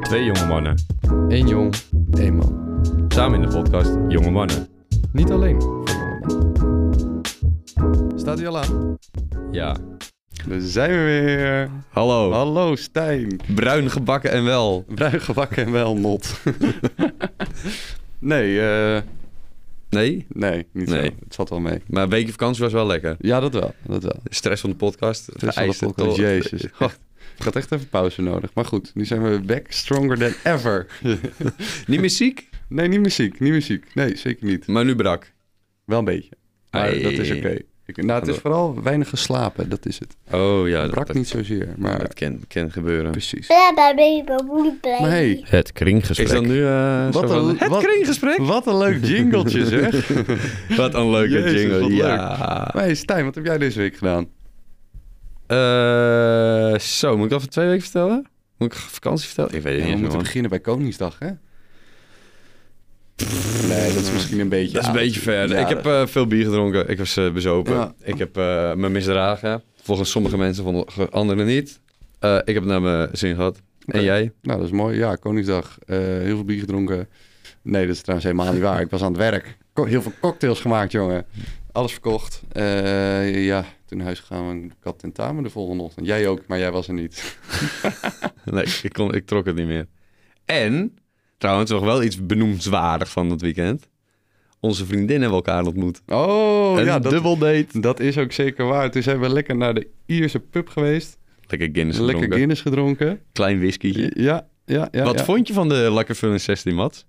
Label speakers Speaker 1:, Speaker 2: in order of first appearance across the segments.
Speaker 1: Twee jonge mannen,
Speaker 2: Eén jong, één man.
Speaker 1: samen in de podcast Jonge Mannen.
Speaker 2: Niet alleen voor jonge mannen. Staat u al aan?
Speaker 1: Ja,
Speaker 2: Daar zijn we weer.
Speaker 1: hallo.
Speaker 2: Hallo Stijn.
Speaker 1: Bruin gebakken en wel.
Speaker 2: Bruin gebakken en wel not. nee, eh,
Speaker 1: Nee,
Speaker 2: nee, niet
Speaker 1: Nee.
Speaker 2: zo. Het zat wel mee.
Speaker 1: maar een weekje vakantie was wel lekker.
Speaker 2: Ja, dat wel. Dat wel.
Speaker 1: De stress van de podcast. Oh,
Speaker 2: Het is wel de
Speaker 1: geëiste
Speaker 2: podcast.
Speaker 1: tol-
Speaker 2: Jezus. Het gaat echt even pauze nodig. Maar goed, nu zijn we back stronger than ever.
Speaker 1: Niet meer ziek,
Speaker 2: nee, niet muziek. Niet muziek. Nee, zeker niet.
Speaker 1: maar nu brak.
Speaker 2: Wel een beetje. Maar
Speaker 1: Ai.
Speaker 2: dat is oké. Ik- Nou, het is vooral weinig geslapen. Dat is het.
Speaker 1: Oh ja,
Speaker 2: Het
Speaker 1: dat,
Speaker 2: brak
Speaker 1: dat,
Speaker 2: niet zozeer, maar
Speaker 1: dat kan, kan gebeuren.
Speaker 2: precies.
Speaker 3: Ja, daar ben ik wel moeilijk bij.
Speaker 2: Maar hey,
Speaker 4: Het kringgesprek.
Speaker 1: Is dat nu eh, zo
Speaker 2: Wat
Speaker 1: van,
Speaker 2: een-
Speaker 1: het
Speaker 2: wat-
Speaker 1: kringgesprek?
Speaker 2: wat een leuk jingletje zeg.
Speaker 1: Wat een leuke
Speaker 2: Jezus,
Speaker 1: jingle.
Speaker 2: wat leuk.
Speaker 1: ja.
Speaker 2: Maar hey Stijn, wat heb jij deze week gedaan?
Speaker 1: Eh, zo, moet ik dat voor twee weken vertellen? Moet ik vakantie vertellen? Ik weet het
Speaker 2: Ja, we
Speaker 1: niet eens,
Speaker 2: moeten
Speaker 1: man.
Speaker 2: beginnen bij Koningsdag, hè? Nee, dat is misschien een beetje...
Speaker 1: Dat is een
Speaker 2: oud.
Speaker 1: beetje ver.
Speaker 2: Ja,
Speaker 1: ik heb
Speaker 2: dat-
Speaker 1: eh, veel bier gedronken. Ik was eh, bezopen.
Speaker 2: Ja.
Speaker 1: Ik heb eh, me misdragen. Volgens sommige mensen, volgens anderen niet. Eh, ik heb het naar mijn zin gehad.
Speaker 2: Oké.
Speaker 1: En jij?
Speaker 2: Nou, dat is mooi. Ja, Koningsdag. eh, heel veel bier gedronken. Nee, dat is trouwens helemaal niet waar. Ik was aan het werk. Ko- heel veel cocktails gemaakt, jongen. Alles verkocht. Eh, ja, toen naar huis gegaan. Ik had tentamen de volgende ochtend. Jij ook, maar jij was er niet.
Speaker 1: Nee, ik, kon, ik trok het niet meer. En, trouwens, nog wel iets benoemenswaardig van dat weekend. Onze vriendinnen hebben elkaar ontmoet.
Speaker 2: Oh,
Speaker 1: een
Speaker 2: ja, dat,
Speaker 1: dubbel date.
Speaker 2: dat is ook zeker waar. Toen zijn we lekker naar de Ierse pub geweest.
Speaker 1: Lekker Guinness
Speaker 2: Lekker
Speaker 1: gedronken.
Speaker 2: Guinness gedronken.
Speaker 1: Klein whiskietje.
Speaker 2: Ja, ja, ja.
Speaker 1: Wat
Speaker 2: ja.
Speaker 1: vond je van de Lekker Fun 16, Mats?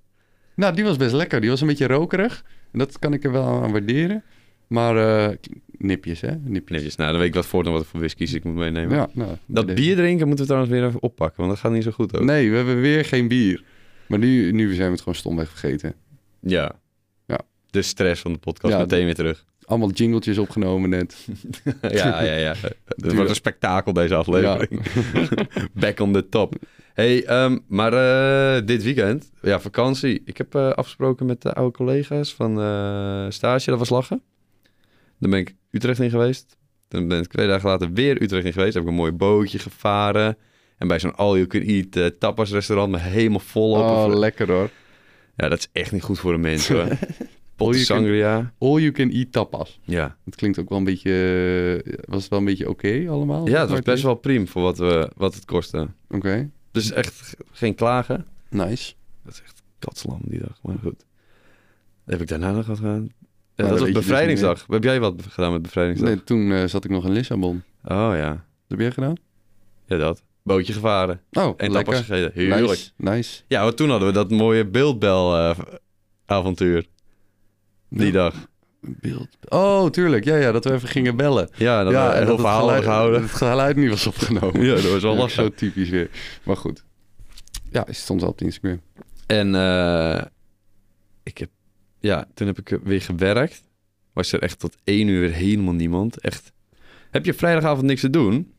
Speaker 2: Nou, die was best lekker. Die was een beetje rokerig. En dat kan ik er wel aan waarderen. Maar eh, nipjes, hè? Nipjes.
Speaker 1: Netjes. Nou, dan weet ik wat voor dan wat voor whiskies ik moet meenemen.
Speaker 2: Ja, nou,
Speaker 1: Dat
Speaker 2: bij
Speaker 1: bier drinken moeten we trouwens weer even oppakken, want dat gaat niet zo goed ook.
Speaker 2: deze. Nee, we hebben weer geen bier. Maar nu, nu zijn we het gewoon stomweg vergeten.
Speaker 1: Ja.
Speaker 2: Ja.
Speaker 1: De stress van de podcast,
Speaker 2: Ja,
Speaker 1: meteen weer terug.
Speaker 2: Allemaal jingletjes opgenomen net.
Speaker 1: ja, ja, ja. Het
Speaker 2: Tuurlijk.
Speaker 1: wordt een spektakel deze aflevering. Back on the top. hey, ehm, maar eh, dit weekend, ja, vakantie. Ik heb eh, afgesproken met de oude collega's van eh, stage, dat was lachen. Dan ben ik Utrecht in geweest. Dan ben ik twee dagen later weer Utrecht in geweest. Heb ik een mooi bootje gevaren. En bij zo'n all-you-can-eat eh, tapas restaurant me helemaal vol op.
Speaker 2: Oh, lekker hoor.
Speaker 1: ja, dat is echt niet goed voor een mens hoor. Pot
Speaker 2: All-you-can-
Speaker 1: sangria.
Speaker 2: All you can eat tapas.
Speaker 1: Ja.
Speaker 2: Dat klinkt ook wel een beetje... eh, Was het wel een beetje oké allemaal?
Speaker 1: Ja, het was
Speaker 2: Maar
Speaker 1: best wel prima voor wat, we, wat het kostte.
Speaker 2: Oké,
Speaker 1: Dus echt g- geen klagen.
Speaker 2: nice.
Speaker 1: Katslam die dag, maar goed. Heb ik daarna nog wat gedaan? Ja, dat
Speaker 2: dat
Speaker 1: was
Speaker 2: weet je dus
Speaker 1: bevrijdingsdag. Heb jij wat gedaan met bevrijdingsdag?
Speaker 2: Nee, toen eh, zat ik nog in Lissabon.
Speaker 1: Oh ja,
Speaker 2: Wat heb jij gedaan?
Speaker 1: ja dat. Bootje gevaren
Speaker 2: Oh,
Speaker 1: en
Speaker 2: lekker.
Speaker 1: tapas gegeten. Heerlijk.
Speaker 2: Nice, nice.
Speaker 1: Ja, want toen hadden we dat mooie beeldbel eh, avontuur. Die
Speaker 2: Ja.
Speaker 1: dag.
Speaker 2: Beeld. Oh, tuurlijk. Ja, ja, dat we even gingen bellen.
Speaker 1: Ja, dat
Speaker 2: ja,
Speaker 1: we eh, heel
Speaker 2: dat
Speaker 1: verhaal
Speaker 2: het geluid,
Speaker 1: gehouden.
Speaker 2: dat het geluid niet was opgenomen.
Speaker 1: Ja, dat was wel
Speaker 2: Ook
Speaker 1: lastig.
Speaker 2: Zo typisch weer. Maar goed. Ja, hij stond wel op Instagram.
Speaker 1: En eh, ik heb, ja, toen heb ik weer gewerkt. Was er echt tot één uur weer helemaal niemand. Echt. Heb je vrijdagavond niks te doen?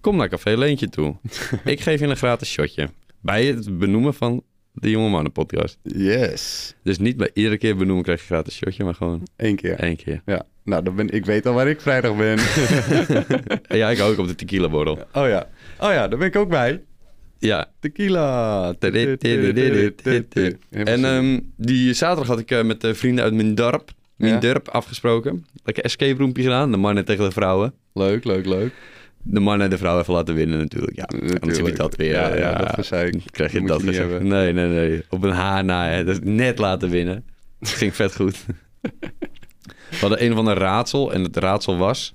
Speaker 1: Kom naar Café Leentje toe. ik geef je een gratis shotje. Bij het benoemen van de Jonge Mannen podcast.
Speaker 2: Yes.
Speaker 1: Dus niet bij iedere keer benoemen krijg je een gratis shotje, maar gewoon
Speaker 2: Eén keer.
Speaker 1: één keer.
Speaker 2: Ja. Nou, dan ben, ik weet al waar ik vrijdag ben.
Speaker 1: En ja, ik ook op de tequila borrel.
Speaker 2: oh ja. Oh ja, daar ben ik ook bij.
Speaker 1: Ja.
Speaker 2: Tequila.
Speaker 1: En ehm, die zaterdag had ik eh, met de vrienden uit mijn dorp, mijn
Speaker 2: Ja.
Speaker 1: dorp afgesproken. Lekker escape roompje gedaan, de mannen tegen de vrouwen. ehm,
Speaker 2: leuk, leuk, leuk.
Speaker 1: de man en de vrouw even laten winnen natuurlijk. Ja, anders heb je
Speaker 2: Natuurlijk.
Speaker 1: dat weer.
Speaker 2: Ja,
Speaker 1: eh,
Speaker 2: ja, dat gezeik.
Speaker 1: Krijg je
Speaker 2: Dat
Speaker 1: dat
Speaker 2: moet je niet
Speaker 1: gezeik.
Speaker 2: hebben.
Speaker 1: Nee, nee, nee. Op een haar na. Hè. Dat is net laten winnen. Dat ging vet goed. We hadden een of ander raadsel. En het raadsel was...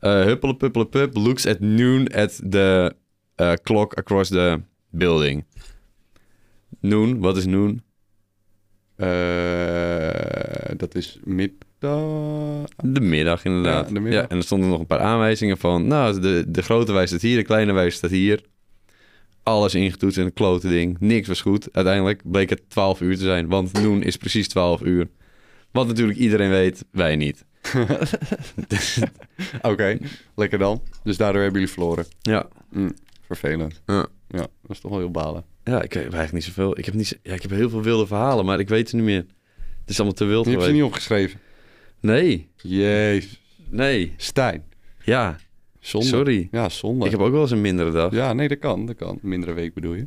Speaker 1: eh huppelen, puppelen, pup. Looks at noon at the eh, clock across the building. Noon, wat is noon?
Speaker 2: Eh, dat is middag.
Speaker 1: De middag inderdaad.
Speaker 2: Ja,
Speaker 1: Ja,
Speaker 2: de middag.
Speaker 1: en er stonden nog een paar aanwijzingen van... Nou, de, de grote wijs staat hier, de kleine wijs staat hier. Alles ingetoetst in een klote ding. Niks was goed. Uiteindelijk bleek het 12 uur te zijn. Want noon is precies 12 uur. Wat natuurlijk iedereen weet, wij niet.
Speaker 2: Ah, Oké, lekker dan. Dus daardoor hebben jullie verloren.
Speaker 1: Ja,
Speaker 2: Vervelend.
Speaker 1: Ja.
Speaker 2: ja, dat is toch wel heel balen.
Speaker 1: ja ik weet eigenlijk niet zoveel. Ik heb, niet, zo- ja, ik heb heel veel wilde verhalen, maar ik weet ze niet meer. Het is allemaal te wild
Speaker 2: Je hebt ze
Speaker 1: geweest.
Speaker 2: niet opgeschreven.
Speaker 1: Nee,
Speaker 2: Jezus.
Speaker 1: nee.
Speaker 2: Stijn.
Speaker 1: Ja,
Speaker 2: Zonde.
Speaker 1: sorry.
Speaker 2: Ja, zonde.
Speaker 1: Ik heb ook wel eens een mindere dag.
Speaker 2: Ja, nee, dat kan. Dat kan. Mindere week bedoel je.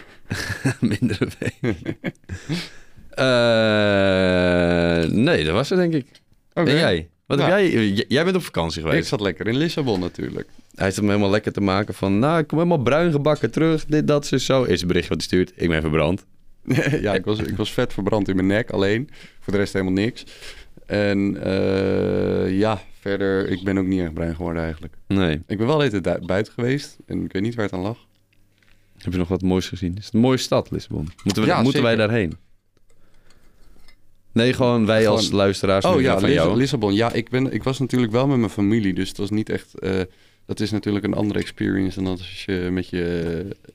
Speaker 1: Mindere week. Eh, nee, dat was het denk ik.
Speaker 2: Oké.
Speaker 1: En jij? Wat
Speaker 2: Ja.
Speaker 1: heb jij? Eh, J- jij bent op vakantie
Speaker 2: Ik
Speaker 1: geweest.
Speaker 2: zat lekker in Lissabon natuurlijk.
Speaker 1: Hij zit hem helemaal lekker te maken van, nou, ik kom helemaal bruin gebakken terug, dit, dat, zo, zo. Is het bericht wat hij stuurt, ik ben verbrand.
Speaker 2: ja, ik was, ik was vet verbrand in mijn nek alleen. Voor de rest helemaal niks. En eh, ja, verder, ik ben ook niet erg bruin geworden eigenlijk.
Speaker 1: Nee.
Speaker 2: Ik ben wel de hele tijd buiten geweest en ik weet niet waar het aan lag.
Speaker 1: Heb je nog wat moois gezien? Is het een mooie stad, Lissabon? Moeten, we,
Speaker 2: Ja,
Speaker 1: moeten wij
Speaker 2: zeker.
Speaker 1: daarheen? Nee, gewoon wij als
Speaker 2: Gewoon-
Speaker 1: luisteraars
Speaker 2: Oh
Speaker 1: nu
Speaker 2: ja,
Speaker 1: van
Speaker 2: Lis-
Speaker 1: jou.
Speaker 2: Lissabon. Ja, ik, ben, ik was natuurlijk wel met mijn familie, dus het was niet echt... eh, dat is natuurlijk een andere experience dan als je met je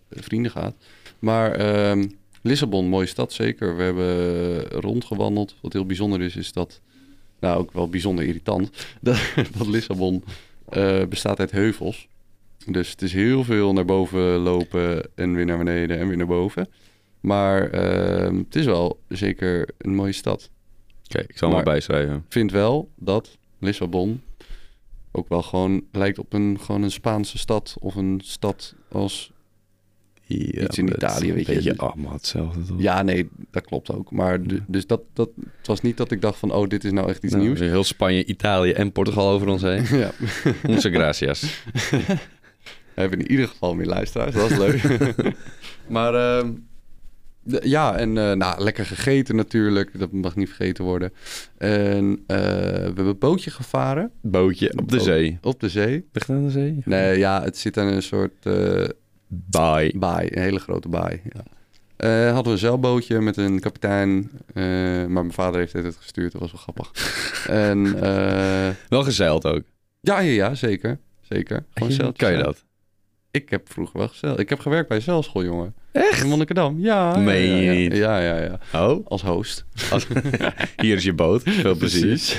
Speaker 2: eh, vrienden gaat. Maar ehm, Lissabon, mooie stad zeker. We hebben rondgewandeld. Wat heel bijzonder is, is dat... Nou, ook wel bijzonder irritant. Dat, dat Lissabon eh, bestaat uit heuvels. Dus het is heel veel naar boven lopen en weer naar beneden en weer naar boven. Maar ehm, het is wel zeker een mooie stad
Speaker 1: Kijk, ik zal hem
Speaker 2: Maar-
Speaker 1: maar bijschrijven.
Speaker 2: vind wel dat Lissabon ook wel gewoon lijkt op een, gewoon een Spaanse stad of een stad als...
Speaker 1: Ja,
Speaker 2: Iets in
Speaker 1: maar het
Speaker 2: Italië,
Speaker 1: is een
Speaker 2: weet je.
Speaker 1: beetje allemaal hetzelfde, toch?
Speaker 2: Ja, nee, dat klopt ook. Maar d- dus dat, dat, het was niet dat ik dacht van, oh, dit is nou echt iets
Speaker 1: Nou,
Speaker 2: nieuws.
Speaker 1: Heel Spanje, Italië en Portugal over ons heen.
Speaker 2: Ja,
Speaker 1: Onze gracias.
Speaker 2: we hebben in ieder geval meer luisteraars, dat is leuk. maar ehm, d- ja, en eh, nou, lekker gegeten natuurlijk, dat mag niet vergeten worden. En eh, we hebben een bootje gevaren
Speaker 1: Bootje op de
Speaker 2: Boot.
Speaker 1: zee.
Speaker 2: op de zee.
Speaker 1: Ligt aan de zee?
Speaker 2: Nee, ja, het zit aan een soort... eh,
Speaker 1: Bye.
Speaker 2: Baai, een hele grote baai. Ja. Eh, hadden we een zeilbootje met een kapitein. eh, maar mijn vader heeft het gestuurd, dat was wel grappig. en, eh,
Speaker 1: Wel gezeild ook.
Speaker 2: ja, ja, ja, zeker. Zeker. Gewoon zeiltjes
Speaker 1: Kan je
Speaker 2: aan.
Speaker 1: dat?
Speaker 2: Ik heb vroeger wel gezeild. Ik heb gewerkt bij een zeilschool, jongen. Echt? In Monnikendam. Ja. ja,
Speaker 1: Meen
Speaker 2: ja,
Speaker 1: je
Speaker 2: ja,
Speaker 1: niet?
Speaker 2: Ja, ja, ja.
Speaker 1: Oh,
Speaker 2: Als host.
Speaker 1: hier is je boot. Veel plezier.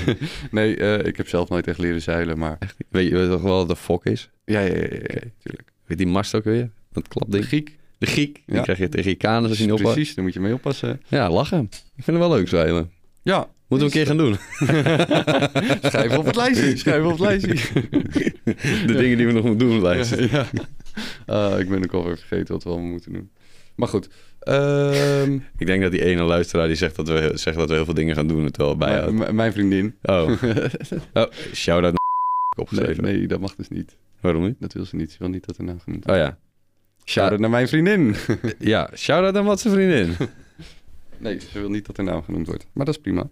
Speaker 2: nee, eh, ik heb zelf nooit echt leren zeilen, maar...
Speaker 1: Weet je weet je toch wel wat de fok is?
Speaker 2: Ja, ja, ja, ja, ja, tuurlijk.
Speaker 1: Weet die mast ook weer? Dat
Speaker 2: De
Speaker 1: klapding.
Speaker 2: Griek.
Speaker 1: De Griek. Die
Speaker 2: Ja.
Speaker 1: krijg je tegen je kaners als je niet oppast.
Speaker 2: Precies, daar moet je mee oppassen.
Speaker 1: Ja, lachen. Ik vind het wel leuk zeilen.
Speaker 2: Ja.
Speaker 1: Moeten we een keer gaan doen.
Speaker 2: Schrijf op het lijstje. Schrijf op het lijstje.
Speaker 1: De dingen die we nog moeten doen blijven.
Speaker 2: Ja. Ah, ik ben ook alweer vergeten wat we allemaal moeten doen. Maar goed. Ehm,
Speaker 1: Ik denk dat die ene luisteraar die zegt dat we, zegt dat we heel veel dingen gaan doen, het wel bijhoudt.
Speaker 2: m- m- mijn vriendin.
Speaker 1: Oh. oh, shout-out naar
Speaker 2: Nee,
Speaker 1: opgeschreven.
Speaker 2: nee, dat mag dus niet.
Speaker 1: Waarom niet?
Speaker 2: Dat wil ze niet. Ze wil niet dat er naam genoemd
Speaker 1: Oh
Speaker 2: wordt.
Speaker 1: ja.
Speaker 2: Shout-out naar mijn vriendin.
Speaker 1: Ja, shout-out aan wat zijn vriendin.
Speaker 2: Nee, ze wil niet dat er naam genoemd wordt. Maar dat is prima.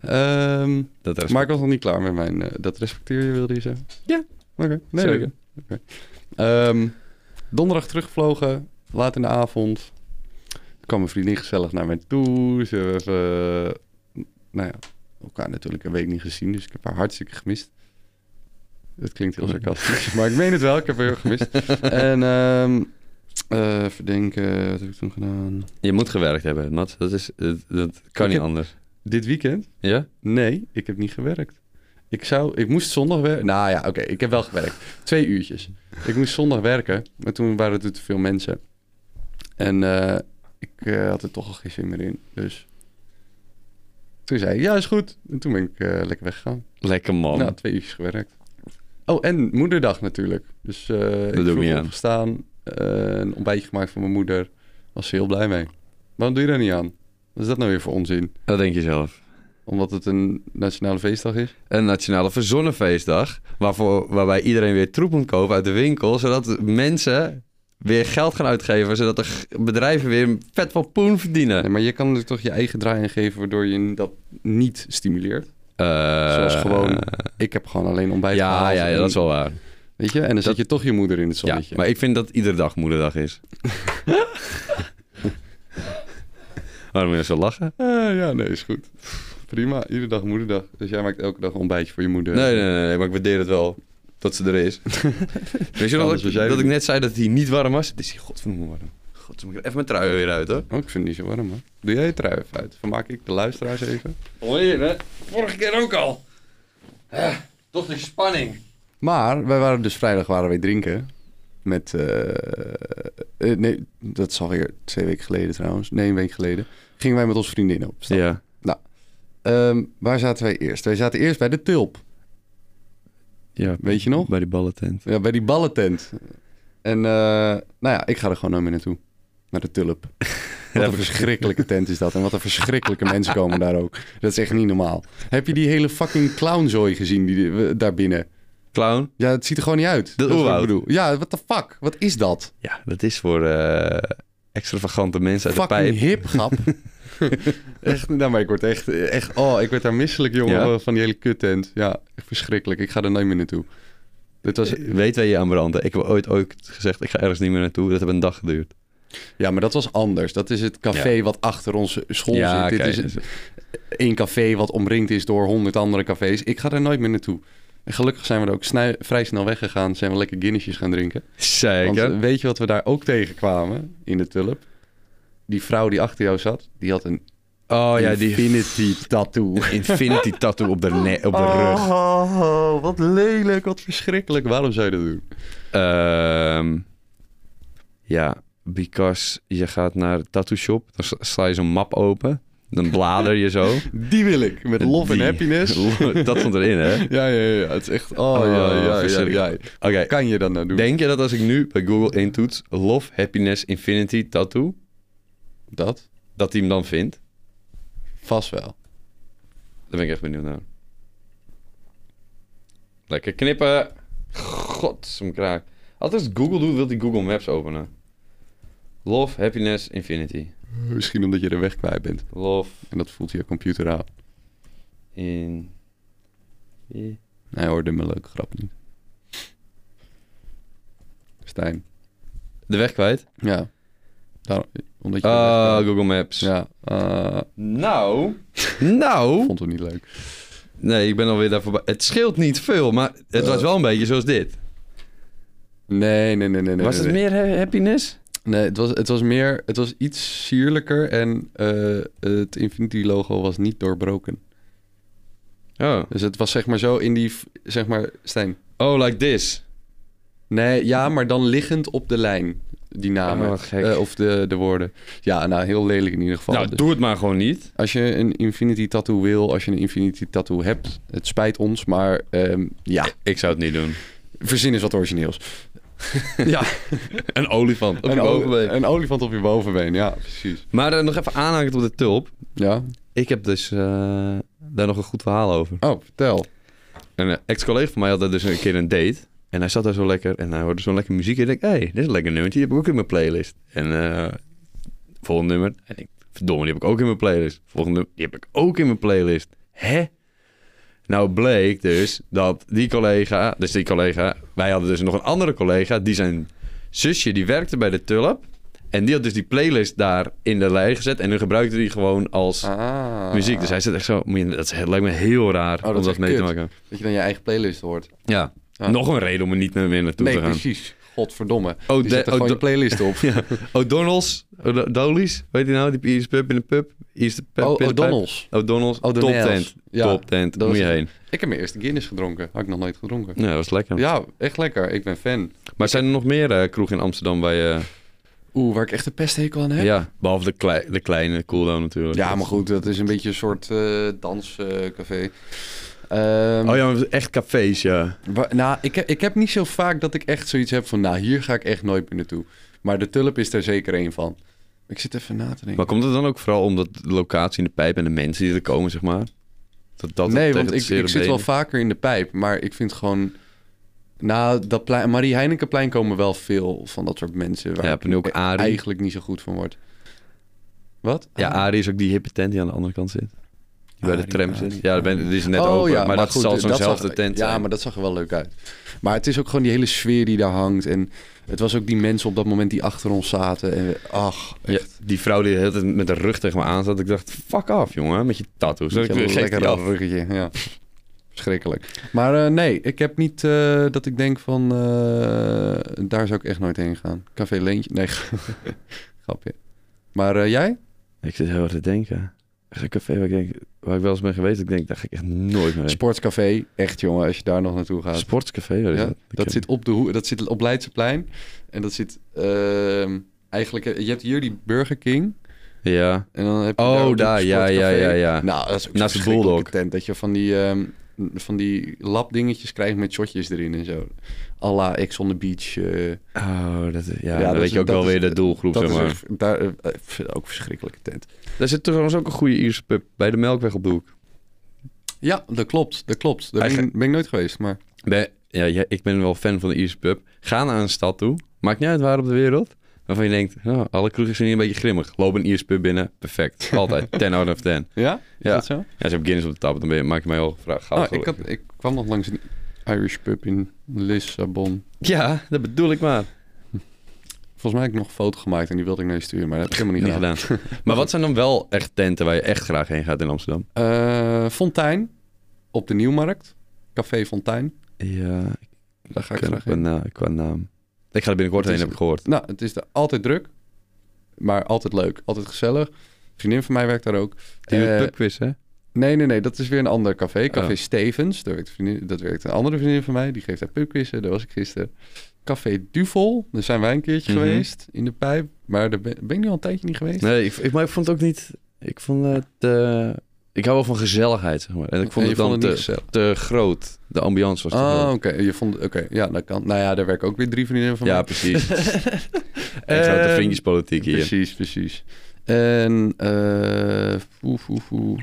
Speaker 2: Ehm,
Speaker 1: Dat is
Speaker 2: maar ik was nog niet klaar met mijn... eh, dat respecteer je, wilde je zeggen?
Speaker 1: Ja.
Speaker 2: Oké. Nee,
Speaker 1: Zeker.
Speaker 2: oké. Ehm, donderdag teruggevlogen. Laat in de avond. Toen kwam mijn vriendin gezellig naar mij toe. Ze hebben even... eh, Nou ja, elkaar natuurlijk een week niet gezien. Dus ik heb haar hartstikke gemist. Dat klinkt heel sarcastisch. maar ik meen het wel. Ik heb haar heel gemist. en... ehm eh, even denken. Wat heb ik toen gedaan?
Speaker 1: Je moet gewerkt hebben, Nat. Dat, is, dat, dat kan
Speaker 2: Ik
Speaker 1: niet
Speaker 2: heb-
Speaker 1: anders.
Speaker 2: Dit weekend?
Speaker 1: Ja?
Speaker 2: Nee, ik heb niet gewerkt. Ik, zou, ik moest zondag werken. Nou ja, oké, ik heb wel gewerkt. Twee uurtjes. Ik moest zondag werken, maar toen waren er te veel mensen. En eh, ik eh, had er toch al geen zin meer in. Dus toen zei ik, ja, is goed. En toen ben ik eh, lekker weggegaan.
Speaker 1: Lekker man.
Speaker 2: Nou, twee uurtjes gewerkt. Oh, en moederdag natuurlijk. Dus eh ik
Speaker 1: doe ik
Speaker 2: vroeg
Speaker 1: niet aan.
Speaker 2: opgestaan, eh, een ontbijtje gemaakt voor mijn moeder. Was ze heel blij mee. Waarom doe je daar niet aan? Wat is dat nou weer voor onzin?
Speaker 1: Dat denk je zelf.
Speaker 2: Omdat het een nationale feestdag is?
Speaker 1: Een nationale verzonnen feestdag, waarvoor, waarbij iedereen weer troep moet kopen uit de winkel, zodat mensen weer geld gaan uitgeven, zodat de g- bedrijven weer vet van poen verdienen.
Speaker 2: Nee, maar je kan er toch je eigen draai aan geven waardoor je dat niet stimuleert.
Speaker 1: Eh,
Speaker 2: Zoals gewoon, ik heb gewoon alleen ontbijt
Speaker 1: Ja,
Speaker 2: gehaald
Speaker 1: ja, ja,
Speaker 2: en-
Speaker 1: dat is wel waar.
Speaker 2: Weet je, en dan zet je toch je moeder in het
Speaker 1: Ja,
Speaker 2: zonnetje.
Speaker 1: maar ik vind dat iedere dag moederdag is. Waarom wil je zo lachen?
Speaker 2: Eh, ja, nee, is goed. Prima, iedere dag moederdag. Dus jij maakt elke dag een ontbijtje voor je moeder.
Speaker 1: Nee, nee, nee, nee, maar ik waardeer het wel dat ze er is. Weet je nog
Speaker 2: Anders
Speaker 1: dat,
Speaker 2: was
Speaker 1: ik,
Speaker 2: jij
Speaker 1: dat
Speaker 2: er
Speaker 1: ik net zei dat hij niet warm was? Het is hier godverdomme warm. Godverdomme, even mijn trui weer uit hoor.
Speaker 2: Oh, ik vind het niet zo warm, hoor. Doe jij je trui even uit? Vermaak ik de luisteraars even.
Speaker 1: Vorige keer ook al. toch die spanning.
Speaker 2: Maar wij waren dus vrijdag waren wij drinken. Met. eh, eh, nee, dat is alweer twee weken geleden trouwens. Nee, een week geleden. Gingen wij met onze vriendinnen op stap. Nou,
Speaker 1: Ja.
Speaker 2: Ehm, waar zaten wij eerst? Wij zaten eerst bij de Tulp.
Speaker 1: ja,
Speaker 2: Weet je nog?
Speaker 1: Bij die ballentent.
Speaker 2: Ja, bij die ballentent. En eh, nou ja, ik ga er gewoon nooit meer naartoe. Naar de Tulp. Wat een verschrikkelijke tent is dat. En wat een verschrikkelijke mensen komen daar ook. Dat is echt niet normaal. Heb je die hele fucking clownzooi gezien die, we- daar binnen?
Speaker 1: Clown?
Speaker 2: Ja, het ziet er gewoon niet uit. Dat is wat ik
Speaker 1: oerwoud.
Speaker 2: bedoel. Ja, what the fuck? Wat is dat?
Speaker 1: Ja, dat is voor eh, extravagante mensen uit de
Speaker 2: Fucking
Speaker 1: pijp.
Speaker 2: hip, grap. echt, nou, maar ik word echt, echt... Oh, ik werd daar misselijk, jongen,
Speaker 1: Ja?
Speaker 2: van die hele kuttent. Ja, echt verschrikkelijk. Ik ga er nooit meer naartoe. Dit was,
Speaker 1: Weet waar je aan branden. Ik heb ooit ook gezegd, ik ga ergens niet meer naartoe. Dat heeft een dag geduurd.
Speaker 2: ja, maar dat was anders. Dat is het café wat achter onze school
Speaker 1: ja, dus-
Speaker 2: zit. Dit
Speaker 1: kijk,
Speaker 2: is één café wat omringd is door honderd andere cafés. Ik ga daar nooit meer naartoe. En gelukkig zijn we er ook snij- vrij snel weggegaan. Zijn we lekker Guinnessjes gaan drinken. Want
Speaker 1: Zeker.
Speaker 2: eh, weet je wat we daar ook tegenkwamen in de tulp? Die vrouw die achter jou zat, die had een
Speaker 1: Oh ja, die
Speaker 2: infinity tattoo.
Speaker 1: infinity tattoo op de, ne- op de rug.
Speaker 2: Oh, wat lelijk, wat verschrikkelijk. Waarom zou je dat doen?
Speaker 1: Ehm, ja, because je gaat naar de tattoo shop. Dan sla- sla je zo'n map open. Dan blader je zo.
Speaker 2: Die wil ik, met love
Speaker 1: Die-
Speaker 2: and happiness.
Speaker 1: dat stond erin, hè? Oké.
Speaker 2: Ja, ja, ja, het is echt... Oh, ja, ja, ja, ja,
Speaker 1: verschrikkelijk.
Speaker 2: Kan je dat nou doen?
Speaker 1: Denk je dat als ik nu bij Google intoets love, happiness, infinity, tattoo,
Speaker 2: Dat?
Speaker 1: dat hij hem dan vindt?
Speaker 2: Vast wel.
Speaker 1: Daar ben ik echt benieuwd naar. Lekker knippen. God, zijn kraak. Altijd als Google doet, wil hij Google Maps openen. Love, happiness, infinity.
Speaker 2: Misschien omdat je er weg kwijt bent.
Speaker 1: Love,
Speaker 2: En dat voelt je computer aan.
Speaker 1: in...
Speaker 2: Hij hoorde mijn leuke grap niet. Stijn.
Speaker 1: De weg kwijt?
Speaker 2: Ja. Daarom, omdat je er weg
Speaker 1: Ah,
Speaker 2: kwijt bent.
Speaker 1: Google Maps.
Speaker 2: Ja. eh,
Speaker 1: Nou. Nou.
Speaker 2: vond het niet leuk.
Speaker 1: Nee, ik ben alweer daar voorbij. Het scheelt niet veel, maar het
Speaker 2: Eh.
Speaker 1: was wel een beetje zoals dit.
Speaker 2: Nee, nee, nee, nee. nee
Speaker 1: was
Speaker 2: nee,
Speaker 1: het meer ha- happiness?
Speaker 2: Nee, het was, het was meer, het was iets sierlijker en eh, het Infinity-logo was niet doorbroken.
Speaker 1: Oh.
Speaker 2: Dus het was zeg maar zo in die, v- zeg maar, Stijn.
Speaker 1: Oh, like this.
Speaker 2: Nee, ja, maar dan liggend op de lijn, die namen.
Speaker 1: Oh, wat gek.
Speaker 2: Eh, of de, de woorden. Ja, nou, heel lelijk in ieder geval.
Speaker 1: nou,
Speaker 2: Dus
Speaker 1: doe het maar gewoon niet.
Speaker 2: Als je een Infinity Tattoo wil, als je een Infinity Tattoo hebt, het spijt ons, maar ehm, ja,
Speaker 1: Ik zou het niet doen.
Speaker 2: verzin eens wat origineels. ja,
Speaker 1: Een olifant. Op
Speaker 2: een,
Speaker 1: je
Speaker 2: ol-
Speaker 1: bovenbeen.
Speaker 2: een olifant op je bovenbeen, ja, precies.
Speaker 1: Maar eh, nog even aanhangend op de tulp.
Speaker 2: Ja,
Speaker 1: Ik heb dus eh, daar nog een goed verhaal over.
Speaker 2: oh, vertel.
Speaker 1: Een eh, ex-collega van mij had daar dus een keer een date. En hij zat daar zo lekker en hij hoorde zo'n lekker muziek. En ik dacht, hé, dit is een lekker nummertje. Die heb ik ook in mijn playlist. En eh volgende nummer. En ik, verdomme, die heb ik ook in mijn playlist. Volgende nummer, die heb ik ook in mijn playlist. Hè? Nou bleek dus dat die collega, dus die collega... Wij hadden dus nog een andere collega. Die zijn zusje, die werkte bij de Tulp. En die had dus die playlist daar in de lijn gezet. En nu gebruikte die gewoon als
Speaker 2: Ah.
Speaker 1: muziek. Dus hij zit echt zo... moet je- Dat is- lijkt me heel raar
Speaker 2: Oh, dat
Speaker 1: om
Speaker 2: is
Speaker 1: dat
Speaker 2: echt
Speaker 1: mee te
Speaker 2: kut.
Speaker 1: maken.
Speaker 2: Dat je dan je eigen playlist hoort.
Speaker 1: Ja.
Speaker 2: Ja.
Speaker 1: Nog een reden om er niet meer naartoe
Speaker 2: nee,
Speaker 1: te gaan.
Speaker 2: precies. Godverdomme.
Speaker 1: Oh,
Speaker 2: Oh,
Speaker 1: de-
Speaker 2: die zet er
Speaker 1: oh,
Speaker 2: gewoon
Speaker 1: de-
Speaker 2: je playlist op.
Speaker 1: Ja. Oh, O'Donnell's, O'Do- Dolly's, weet je nou? Die Ierse pub in de pub. Ierse pub
Speaker 2: Oh,
Speaker 1: in de pub.
Speaker 2: O'Donnell's.
Speaker 1: O'Donnell's. Top
Speaker 2: O'Donnell's.
Speaker 1: tent.
Speaker 2: Ja,
Speaker 1: Top tent.
Speaker 2: dat
Speaker 1: Moet
Speaker 2: is
Speaker 1: je
Speaker 2: het.
Speaker 1: heen.
Speaker 2: Ik heb mijn eerste Guinness gedronken. Had ik nog nooit gedronken.
Speaker 1: Ja, dat was lekker.
Speaker 2: Ja, echt lekker. Ik ben fan.
Speaker 1: Maar zijn er nog meer eh, kroegen in Amsterdam waar je...
Speaker 2: Oeh, waar ik echt een pesthekel aan heb.
Speaker 1: Ja, behalve de, klei- de kleine cooldown natuurlijk.
Speaker 2: Ja, maar goed, dat is een beetje een soort eh, danscafé. Ehm,
Speaker 1: Oh ja, maar het is echt cafés, ja.
Speaker 2: Nou, ik heb, ik heb niet zo vaak dat ik echt zoiets heb van, nou, hier ga ik echt nooit meer naartoe. Maar de Tulp is er zeker één van. Ik zit even na te denken.
Speaker 1: Maar komt het dan ook vooral omdat de locatie in de pijp en de mensen die er komen, zeg maar? Dat, dat
Speaker 2: nee,
Speaker 1: tegen
Speaker 2: want
Speaker 1: het
Speaker 2: ik,
Speaker 1: zere
Speaker 2: ik zit
Speaker 1: been-
Speaker 2: wel vaker in de pijp, maar ik vind gewoon... Nou, dat plein, Marie Heinekenplein komen wel veel van dat soort mensen. Waar
Speaker 1: Ja,
Speaker 2: ik
Speaker 1: en ook
Speaker 2: e-
Speaker 1: Arie.
Speaker 2: eigenlijk niet zo goed van word. Wat?
Speaker 1: Ja, Arie is ook die hippe tent die aan de andere kant zit. Die bij de
Speaker 2: Arie,
Speaker 1: tram
Speaker 2: Arie,
Speaker 1: zit. Ja, daar ben, die is net open, Oh, maar, dat
Speaker 2: Oh, goed,
Speaker 1: zal
Speaker 2: dat
Speaker 1: zo'nzelfde
Speaker 2: zag-
Speaker 1: tent
Speaker 2: Ja,
Speaker 1: zijn.
Speaker 2: maar dat zag er wel leuk uit. Maar het is ook gewoon die hele sfeer die daar hangt. En het was ook die mensen op dat moment die achter ons zaten. En we- ach,
Speaker 1: Ja,
Speaker 2: echt.
Speaker 1: die vrouw die de hele tijd met de rug tegen me aan zat. Ik dacht, fuck af, jongen, met je tattoos.
Speaker 2: Met
Speaker 1: Ik
Speaker 2: je
Speaker 1: geef die
Speaker 2: lekkere
Speaker 1: af.
Speaker 2: ruggetje. Ja. Verschrikkelijk. Maar eh, nee, ik heb niet eh, dat ik denk van... eh, daar zou ik echt nooit heen gaan. Café Leentje? Nee, grapje. Maar eh, jij?
Speaker 1: Ik zit heel hard te denken. Er is een café waar ik, denk, waar ik wel eens ben geweest. Ik denk, daar ga ik echt nooit meer heen.
Speaker 2: Sportscafé. Echt jongen, als je daar nog naartoe gaat.
Speaker 1: Sportscafé, waar is
Speaker 2: Ja,
Speaker 1: dat? Ik
Speaker 2: dat,
Speaker 1: heb-
Speaker 2: zit op de hoek, dat zit op Leidseplein. En dat zit ehm, eigenlijk... Je hebt hier die Burger King.
Speaker 1: Ja.
Speaker 2: En dan heb je
Speaker 1: Oh,
Speaker 2: ook
Speaker 1: daar,
Speaker 2: een
Speaker 1: ja, ja,
Speaker 2: sportcafé.
Speaker 1: ja, ja.
Speaker 2: Nou, dat is ook
Speaker 1: Naast
Speaker 2: Naast
Speaker 1: de
Speaker 2: de
Speaker 1: Bulldog.
Speaker 2: tent. Dat je van die... ehm, van die labdingetjes krijgt met shotjes erin en zo. Alla X on the beach. eh,
Speaker 1: Oh, dat, ja,
Speaker 2: dat
Speaker 1: dan
Speaker 2: is-
Speaker 1: weet je ook
Speaker 2: dat
Speaker 1: wel
Speaker 2: is-
Speaker 1: weer de doelgroep,
Speaker 2: dat
Speaker 1: zeg
Speaker 2: is
Speaker 1: maar.
Speaker 2: echt- daar, eh, eh, pff, ook verschrikkelijke tent.
Speaker 1: Daar zit trouwens ook een goede Ierse pub bij de Melkweg op de hoek.
Speaker 2: Ja, dat klopt. Dat klopt. Daar ben, ik- ben ik nooit geweest, maar...
Speaker 1: Ben- ja, ja, ik ben wel fan van de Ierse pub. Ga naar een stad toe. Maakt niet uit waar op de wereld. Waarvan je denkt, oh, alle kroegen zijn hier een beetje grimmig. Loop een Ierse pub binnen. Perfect. Altijd. 10 out of 10.
Speaker 2: Ja? Is
Speaker 1: Ja.
Speaker 2: dat zo?
Speaker 1: Ja, ze hebben Guinness op de tap. Dan ben je, maak je mij al gevraagd. Gauw
Speaker 2: Ah, ik,
Speaker 1: Oh, gelukkig.
Speaker 2: had, ik kwam nog langs een Irish pub in Lissabon.
Speaker 1: Ja, dat bedoel ik maar.
Speaker 2: Volgens mij heb ik nog een foto gemaakt en die wilde ik naar je sturen, maar dat heb ik helemaal
Speaker 1: Niet
Speaker 2: niet gedaan.
Speaker 1: gedaan. maar wat zijn dan wel echt tenten waar je echt graag heen gaat in Amsterdam?
Speaker 2: Eh, Fontijn, op de Nieuwmarkt. Café Fontijn,
Speaker 1: Ja,
Speaker 2: daar ga
Speaker 1: ik ken
Speaker 2: ik graag
Speaker 1: qua,
Speaker 2: heen.
Speaker 1: na- qua naam. Ik ga er binnenkort
Speaker 2: Het
Speaker 1: heen,
Speaker 2: is-
Speaker 1: heb ik gehoord.
Speaker 2: Nou, het is daar altijd druk, maar altijd leuk, altijd gezellig. Een vriendin van mij werkt daar ook.
Speaker 1: Die doet
Speaker 2: Eh,
Speaker 1: pubquiz, hè?
Speaker 2: Nee, nee, nee, dat is weer een ander café. Café
Speaker 1: Oh.
Speaker 2: Stevens, daar werkt, een vriendin- dat werkt een andere vriendin van mij. Die geeft daar pubquizzen, daar was ik gisteren. Café Duvel, daar zijn wij een keertje
Speaker 1: Mhm.
Speaker 2: geweest, in de pijp. Maar daar ben, ben ik nu al een tijdje niet geweest.
Speaker 1: Nee, ik, ik- maar ik vond het ook niet... Ik vond het... eh, ik hou wel van gezelligheid, zeg maar. En ik
Speaker 2: En
Speaker 1: vond
Speaker 2: je
Speaker 1: het dan
Speaker 2: niet
Speaker 1: te,
Speaker 2: gezellig?
Speaker 1: te groot. De ambiance was te
Speaker 2: Ah,
Speaker 1: groot.
Speaker 2: oké. Je vond... Oké, ja, dat kan. Nou ja, daar werken ook weer drie vriendinnen van
Speaker 1: Ja,
Speaker 2: mij.
Speaker 1: precies. En zo de
Speaker 2: Ehm,
Speaker 1: vriendjespolitiek hier.
Speaker 2: Precies, precies. En... eh foe, foe, foe.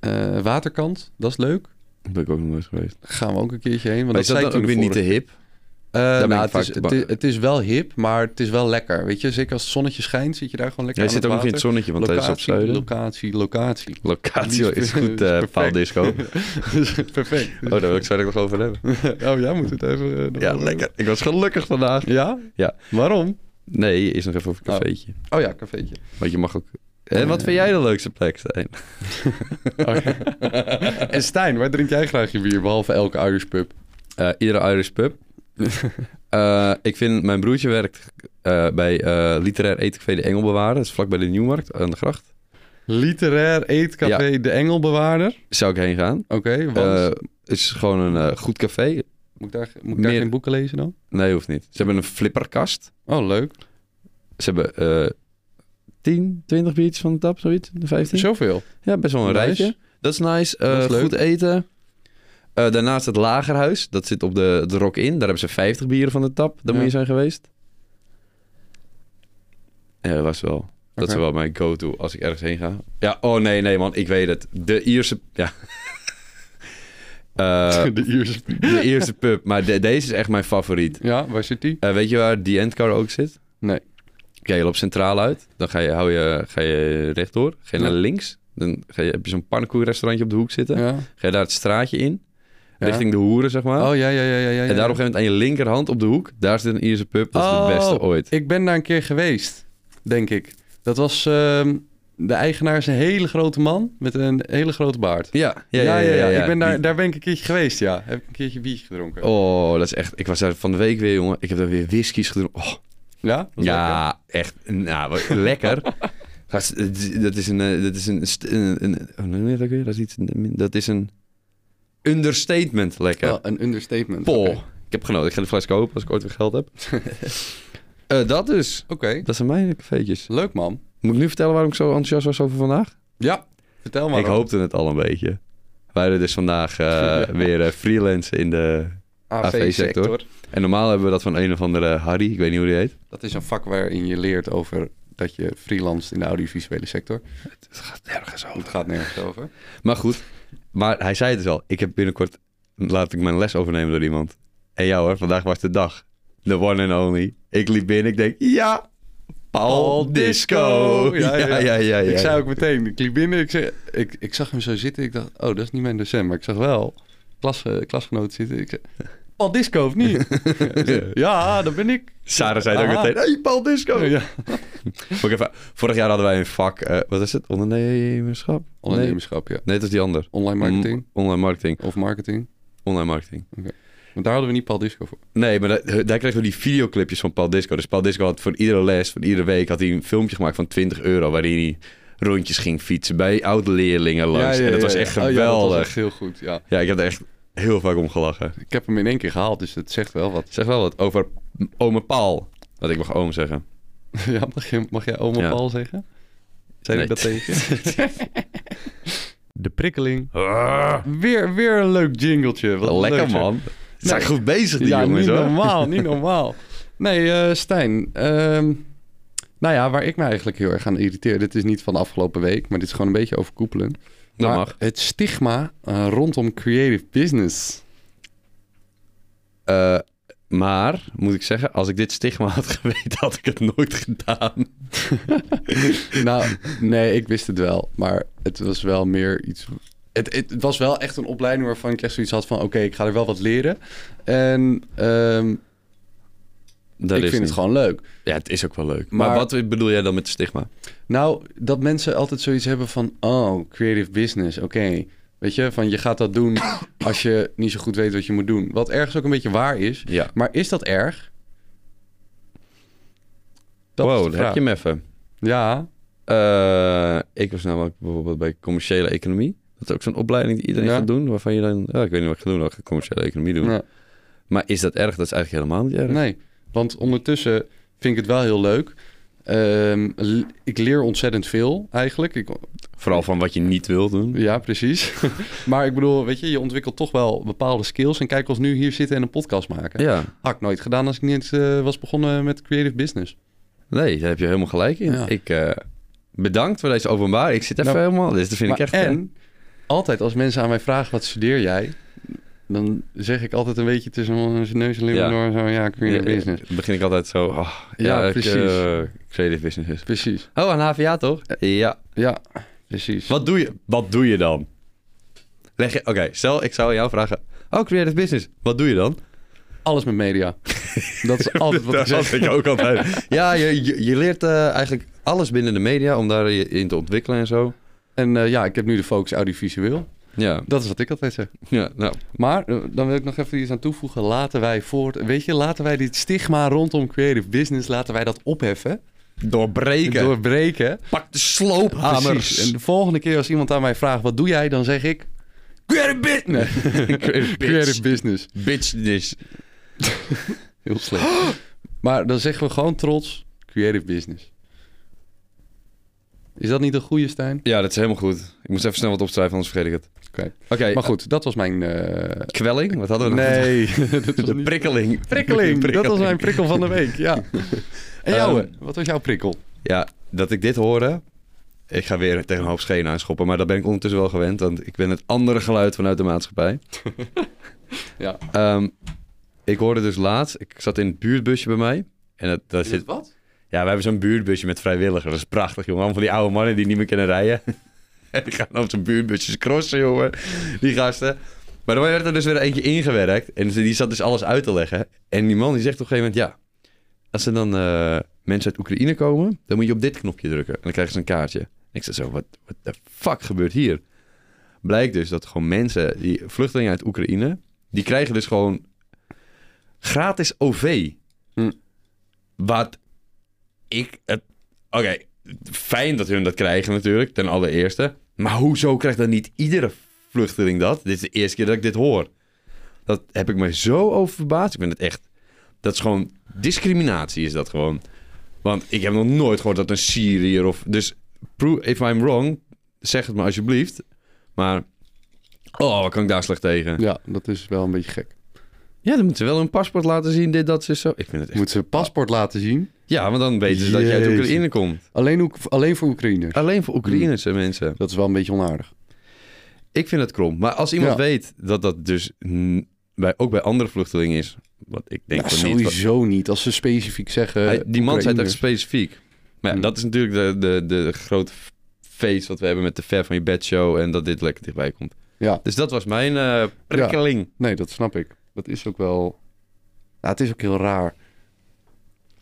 Speaker 2: Eh, waterkant, dat is leuk.
Speaker 1: Daar ben ik ook nog nooit geweest.
Speaker 2: Daar gaan we ook een keertje heen. Want
Speaker 1: Maar is dat
Speaker 2: zei
Speaker 1: dan
Speaker 2: ik
Speaker 1: ook weer
Speaker 2: toen
Speaker 1: niet te
Speaker 2: de
Speaker 1: hip?
Speaker 2: vorige- Eh,
Speaker 1: ben
Speaker 2: nou,
Speaker 1: ik
Speaker 2: het,
Speaker 1: vaak
Speaker 2: is,
Speaker 1: te
Speaker 2: het,
Speaker 1: bang.
Speaker 2: is, het is wel hip, maar het is wel lekker. Weet je, zeker als het zonnetje schijnt, zit je daar gewoon lekker
Speaker 1: Jij
Speaker 2: aan
Speaker 1: zit ook nog
Speaker 2: het
Speaker 1: in het
Speaker 2: water.
Speaker 1: zonnetje, want hij is op
Speaker 2: locatie,
Speaker 1: zuiden.
Speaker 2: locatie, locatie.
Speaker 1: Locatie is goed,
Speaker 2: Is
Speaker 1: eh
Speaker 2: perfect.
Speaker 1: paaldisco. Oh,
Speaker 2: Perfect.
Speaker 1: daar wil ik zo direct nog over hebben.
Speaker 2: Oh, jij moet het even... eh, nog
Speaker 1: Ja,
Speaker 2: wel-
Speaker 1: lekker. Ik was gelukkig vandaag.
Speaker 2: Ja?
Speaker 1: Ja.
Speaker 2: Waarom?
Speaker 1: Nee, is nog even over een
Speaker 2: Oh.
Speaker 1: cafeetje.
Speaker 2: Oh ja, cafeetje.
Speaker 1: Want je mag ook... Eh, En wat vind jij de leukste plek, Stijn?
Speaker 2: en Eh, Stijn, waar drink jij graag je bier, behalve elke Irish pub?
Speaker 1: Eh, iedere Irish pub. Eh, ik vind, mijn broertje werkt eh, bij eh, literair eetcafé De Engelbewaarder. Dat is vlakbij de Nieuwmarkt aan de gracht.
Speaker 2: Literair Eetcafé De Engelbewaarder.
Speaker 1: Zou ik heen gaan.
Speaker 2: Oké, want...
Speaker 1: Eh, Het is gewoon een eh, goed café.
Speaker 2: moet ik daar, moet ik daar
Speaker 1: meer-
Speaker 2: geen boeken lezen dan?
Speaker 1: Nee, hoeft niet. Ze hebben een flipperkast.
Speaker 2: Oh, leuk.
Speaker 1: Ze hebben eh 10, 20 biertjes van de tap, zoiets. 15.
Speaker 2: Zoveel.
Speaker 1: Ja, best wel een
Speaker 2: Nice.
Speaker 1: rijtje. Dat is nice. Eh,
Speaker 2: Dat is leuk.
Speaker 1: goed eten. Eh, daarnaast het Lagerhuis. Dat zit op de, de Rock In. Daar hebben ze 50 bieren van de tap. Daar
Speaker 2: Ja.
Speaker 1: moet je zijn geweest. Ja, dat was wel. Dat is
Speaker 2: Oké.
Speaker 1: wel mijn go-to als ik ergens heen ga. Ja, oh nee, nee man. Ik weet het. De Ierse... Ja. Eh,
Speaker 2: de Ierse
Speaker 1: de Ierse pub. Maar de- deze is echt mijn favoriet.
Speaker 2: Ja, waar zit die?
Speaker 1: Eh, weet je waar die Endcar ook zit?
Speaker 2: Nee.
Speaker 1: Oké, je loopt centraal uit. Dan ga je, hou je, ga je rechtdoor. Ga je naar
Speaker 2: Ja.
Speaker 1: links. Dan ga je, heb je zo'n pannenkoekrestaurantje op de hoek zitten.
Speaker 2: Ja.
Speaker 1: Ga je daar het straatje in.
Speaker 2: Ja.
Speaker 1: Richting de hoeren, zeg maar.
Speaker 2: Oh, ja, ja, ja, ja, ja. ja.
Speaker 1: En daar op een gegeven moment aan je linkerhand op de hoek. Daar zit een Ierse pub. Dat is
Speaker 2: Oh,
Speaker 1: de beste ooit.
Speaker 2: Ik ben daar een keer geweest, denk ik. Dat was... ehm, de eigenaar is een hele grote man met een hele grote baard.
Speaker 1: Ja, ja, ja. ja, ja,
Speaker 2: Ik ben daar,
Speaker 1: Die-
Speaker 2: daar ben ik een keertje geweest, ja. Heb ik een keertje biertje gedronken.
Speaker 1: Oh, dat is echt... Ik was daar van de week weer, jongen. Ik heb daar weer whiskies gedronken. Oh,
Speaker 2: Ja? Dat is lekker.
Speaker 1: ja, echt. Nou, wat lekker. Gast, het is- Dat is een... eh, Dat is een... st- een, een hoe noem je dat ook weer? Dat is iets... Dat is een... Understatement lekker.
Speaker 2: Wel een understatement.
Speaker 1: Pol.
Speaker 2: Oké.
Speaker 1: Ik heb genoten. Ik ga de fles kopen als ik ooit weer geld heb. Eh, dat dus.
Speaker 2: Oké.
Speaker 1: Dat zijn mijn cafeetjes.
Speaker 2: Leuk man.
Speaker 1: Moet ik nu vertellen waarom ik zo enthousiast was over vandaag?
Speaker 2: Ja, vertel maar.
Speaker 1: ik hoopte het al een beetje. Wij hadden dus vandaag eh, weer eh, freelance in de... AV-sector. En normaal hebben we dat van een of andere Harry. Ik weet niet hoe die heet.
Speaker 2: Dat is een vak waarin je leert over dat je freelance in de audiovisuele sector.
Speaker 1: Het gaat nergens over.
Speaker 2: Het gaat nergens over.
Speaker 1: Maar goed. Maar hij zei het dus al. Ik heb binnenkort... Laat ik mijn les overnemen door iemand. En jou hoor, vandaag was de dag. The one and only. Ik liep binnen. Ik denk, ja... Paul Disco.
Speaker 2: Ja, ja, ja.
Speaker 1: ja.
Speaker 2: ik zei ook meteen, ik liep binnen, ik, zei, ik, ik zag hem zo zitten. Ik dacht, oh, dat is niet mijn docent. Maar ik zag wel klas, eh, klasgenoot zitten. Ik zei, Paul Disco of niet? Hij zei, ja, dat ben ik.
Speaker 1: Sarah zei het ook
Speaker 2: Aha.
Speaker 1: meteen, hey Paul Disco.
Speaker 2: Ja.
Speaker 1: Moet ik even- vorig jaar hadden wij een vak, eh, wat is het? Ondernemerschap?
Speaker 2: Ondernemerschap, ja.
Speaker 1: Nee, nee, dat is die ander.
Speaker 2: Online marketing
Speaker 1: M- online marketing.
Speaker 2: of marketing.
Speaker 1: Online marketing.
Speaker 2: Maar daar hadden we niet Paul Disco voor.
Speaker 1: Nee, maar da- daar kregen we die videoclipjes van Paul Disco. Dus Paul Disco had voor iedere les, voor iedere week, had hij een filmpje gemaakt van 20 euro. Waarin hij rondjes ging fietsen bij oud-leerlingen langs. en dat was echt
Speaker 2: Oh, ja,
Speaker 1: geweldig.
Speaker 2: dat was
Speaker 1: ja,
Speaker 2: echt heel goed, ja.
Speaker 1: ik heb er echt heel vaak om gelachen.
Speaker 2: Ik heb hem in één keer gehaald, dus het zegt wel wat.
Speaker 1: Zeg wel wat over ome Paul. Dat ik mag oom zeggen.
Speaker 2: Ja, mag, je, mag jij oma
Speaker 1: Ja.
Speaker 2: Paul zeggen? Zei
Speaker 1: Nee.
Speaker 2: ik dat tegen? de prikkeling.
Speaker 1: Ah,
Speaker 2: Weer, weer een leuk jingletje. Wat
Speaker 1: lekker
Speaker 2: leuk, zeg.
Speaker 1: man. Ze zijn goed bezig die
Speaker 2: ja,
Speaker 1: jongens
Speaker 2: niet
Speaker 1: hoor.
Speaker 2: normaal, niet normaal. Nee, eh, Stijn. ehm, nou ja, waar ik me eigenlijk heel erg aan irriteer. Dit is niet van de afgelopen week, maar dit is gewoon een beetje overkoepelend.
Speaker 1: Dat
Speaker 2: Maar
Speaker 1: mag.
Speaker 2: Het stigma eh, rondom creative business.
Speaker 1: Eh, maar, moet ik zeggen, als ik dit stigma had geweten, had ik het nooit gedaan.
Speaker 2: nou, nee, ik wist het wel. Maar het was wel meer iets... Het, het, het was wel echt een opleiding waarvan ik echt zoiets had van... Oké, ik ga er wel wat leren. En ehm,
Speaker 1: Dat
Speaker 2: ik
Speaker 1: is
Speaker 2: vind
Speaker 1: niet.
Speaker 2: het gewoon leuk.
Speaker 1: Ja, het is ook wel leuk. Maar,
Speaker 2: Maar-
Speaker 1: wat bedoel jij dan met stigma?
Speaker 2: Nou, dat mensen altijd zoiets hebben van... Oh, creative business, oké. Weet je, van je gaat dat doen als je niet zo goed weet wat je moet doen. Wat ergens ook een beetje waar is.
Speaker 1: Ja.
Speaker 2: Maar is dat erg? Dat is de
Speaker 1: wow, daar heb
Speaker 2: vraag.
Speaker 1: je hem even.
Speaker 2: Ja,
Speaker 1: Eh, ik was namelijk bijvoorbeeld bij commerciële economie. Dat is ook zo'n opleiding die iedereen
Speaker 2: Ja.
Speaker 1: gaat doen, waarvan je dan... Ja, ik weet niet wat ik ga doen, maar ik ga commerciële economie doen.
Speaker 2: Ja.
Speaker 1: Maar is dat erg? Dat is eigenlijk helemaal niet erg.
Speaker 2: nee. Want ondertussen vind ik het wel heel leuk. Ehm, l- ik leer ontzettend veel eigenlijk. Ik,
Speaker 1: Vooral van wat je niet wil doen.
Speaker 2: ja, precies. maar ik bedoel, weet je, je ontwikkelt toch wel bepaalde skills. En kijk, als nu hier zitten en een podcast maken.
Speaker 1: Ja,
Speaker 2: Had ik nooit gedaan als ik niet eh, was begonnen met creative business.
Speaker 1: nee, daar heb je helemaal gelijk in.
Speaker 2: Ja.
Speaker 1: Ik, eh, bedankt voor deze openbaar. Ik zit even
Speaker 2: Nou,
Speaker 1: helemaal... Dit vind ik
Speaker 2: Maar
Speaker 1: echt... eh,
Speaker 2: en altijd als mensen aan mij vragen wat studeer jij, dan zeg ik altijd een beetje tussen mijn neus en lippen
Speaker 1: Ja.
Speaker 2: door zo ja, creative
Speaker 1: ja,
Speaker 2: business.
Speaker 1: eh, begin ik altijd zo... ah, ja,
Speaker 2: Ja,
Speaker 1: ik,
Speaker 2: precies.
Speaker 1: eh, creative business is.
Speaker 2: Precies.
Speaker 1: Oh, aan HVA toch? Ja.
Speaker 2: Ja, precies.
Speaker 1: Wat doe je, wat doe je dan? Leg je... Oké, stel ik zou aan jou vragen... Oh, creative business. Wat doe je dan?
Speaker 2: Alles met media. Dat is altijd wat ik
Speaker 1: Dat had
Speaker 2: zeg.
Speaker 1: ik ook altijd. Ja, je, je, je leert eh, eigenlijk alles binnen de media om daar je in te ontwikkelen en zo.
Speaker 2: En eh, ja, ik heb nu de focus audiovisueel.
Speaker 1: Ja,
Speaker 2: Dat is wat ik altijd zeg.
Speaker 1: ja nou,
Speaker 2: Maar eh, dan wil ik nog even iets aan toevoegen. Laten wij voort... Weet je, laten wij dit stigma rondom creative business, laten wij dat opheffen.
Speaker 1: doorbreken.
Speaker 2: Doorbreken.
Speaker 1: Pak de sloophamers.
Speaker 2: Precies. En de volgende keer als iemand aan mij vraagt, wat doe jij? Dan zeg ik... Creative business.
Speaker 1: Creative
Speaker 2: Creative business.
Speaker 1: business.
Speaker 2: Heel slecht. maar dan zeggen we gewoon trots, creative business. Is dat niet een goede, Stijn?
Speaker 1: Ja, dat is helemaal goed. Ik moest even snel wat opschrijven, anders vergeet ik het.
Speaker 2: Oké.
Speaker 1: Oké,
Speaker 2: Maar goed, dat was mijn... eh,
Speaker 1: kwelling? Wat hadden we nog?
Speaker 2: Nee, dat was
Speaker 1: De
Speaker 2: niet-
Speaker 1: prikkeling.
Speaker 2: prikkeling. Dat was mijn prikkel van de week, ja. En jou,
Speaker 1: Ehm,
Speaker 2: hè? wat was jouw prikkel?
Speaker 1: Ja, dat ik dit hoorde. Ik ga weer tegen een hoop schenen aanschoppen, maar dat ben ik ondertussen wel gewend, want ik ben het andere geluid vanuit de maatschappij.
Speaker 2: Ja.
Speaker 1: Ehm, ik hoorde dus laatst, ik zat in het buurtbusje bij mij. En dat, daar zit,
Speaker 2: wat?
Speaker 1: ja, we hebben zo'n buurtbusje met vrijwilligers. Dat is prachtig, jongen. Allemaal van die oude mannen die niet meer kunnen rijden. en die gaan op zo'n buurtbusjes crossen, jongen. Die gasten. Maar dan werd er dus weer eentje ingewerkt. En ze- die zat dus alles uit te leggen. En die man die zegt op een gegeven moment, ja, als er dan eh, mensen uit Oekraïne komen, dan moet je op dit knopje drukken. En dan krijgen ze een kaartje. En ik zei zo, wat what the fuck gebeurt hier? Blijkt dus dat gewoon mensen, die vluchtelingen uit Oekraïne, die krijgen dus gewoon gratis OV.
Speaker 2: Hm.
Speaker 1: Wat ik het. Oké, fijn dat hun dat krijgen natuurlijk, ten allereerste. Maar hoezo krijgt dan niet iedere vluchteling dat? Dit is de eerste keer dat ik dit hoor. Dat heb ik me zo over verbaasd. Ik ben het echt. Dat is gewoon. Discriminatie is dat gewoon. Want ik heb nog nooit gehoord dat een Syriër of. Dus, pro- if I'm wrong, zeg het me alsjeblieft. Maar. Oh, wat kan ik daar slecht tegen?
Speaker 2: Ja, dat is wel een beetje gek.
Speaker 1: Ja, dan moeten ze wel hun paspoort laten zien. Dit, dat, ze zo. Ik vind het echt.
Speaker 2: Moet ze een paspoort laten zien.
Speaker 1: Ja, want dan weten ze dat jij uit
Speaker 2: Jezus.
Speaker 1: Oekraïne komt.
Speaker 2: Alleen, Oek- alleen voor Oekraïners.
Speaker 1: Alleen voor Oekraïnse mensen.
Speaker 2: Dat is wel een beetje onaardig.
Speaker 1: Ik vind het krom. Maar als iemand
Speaker 2: Ja.
Speaker 1: weet dat dat dus mm, bij, ook bij andere vluchtelingen is. Wat ik denk
Speaker 2: Nou,
Speaker 1: van niet. want-
Speaker 2: sowieso niet. Als ze specifiek zeggen...
Speaker 1: Hij- die man zei dat
Speaker 2: Oekraïners.
Speaker 1: specifiek. Maar ja,
Speaker 2: Hmm.
Speaker 1: dat is natuurlijk de, de, de grote f- feest wat we hebben met de ver van je bed show. En dat dit lekker dichtbij komt.
Speaker 2: Ja.
Speaker 1: Dus dat was mijn eh, prikkeling.
Speaker 2: Nee, dat snap ik. Dat is ook wel... Nou, het is ook heel raar.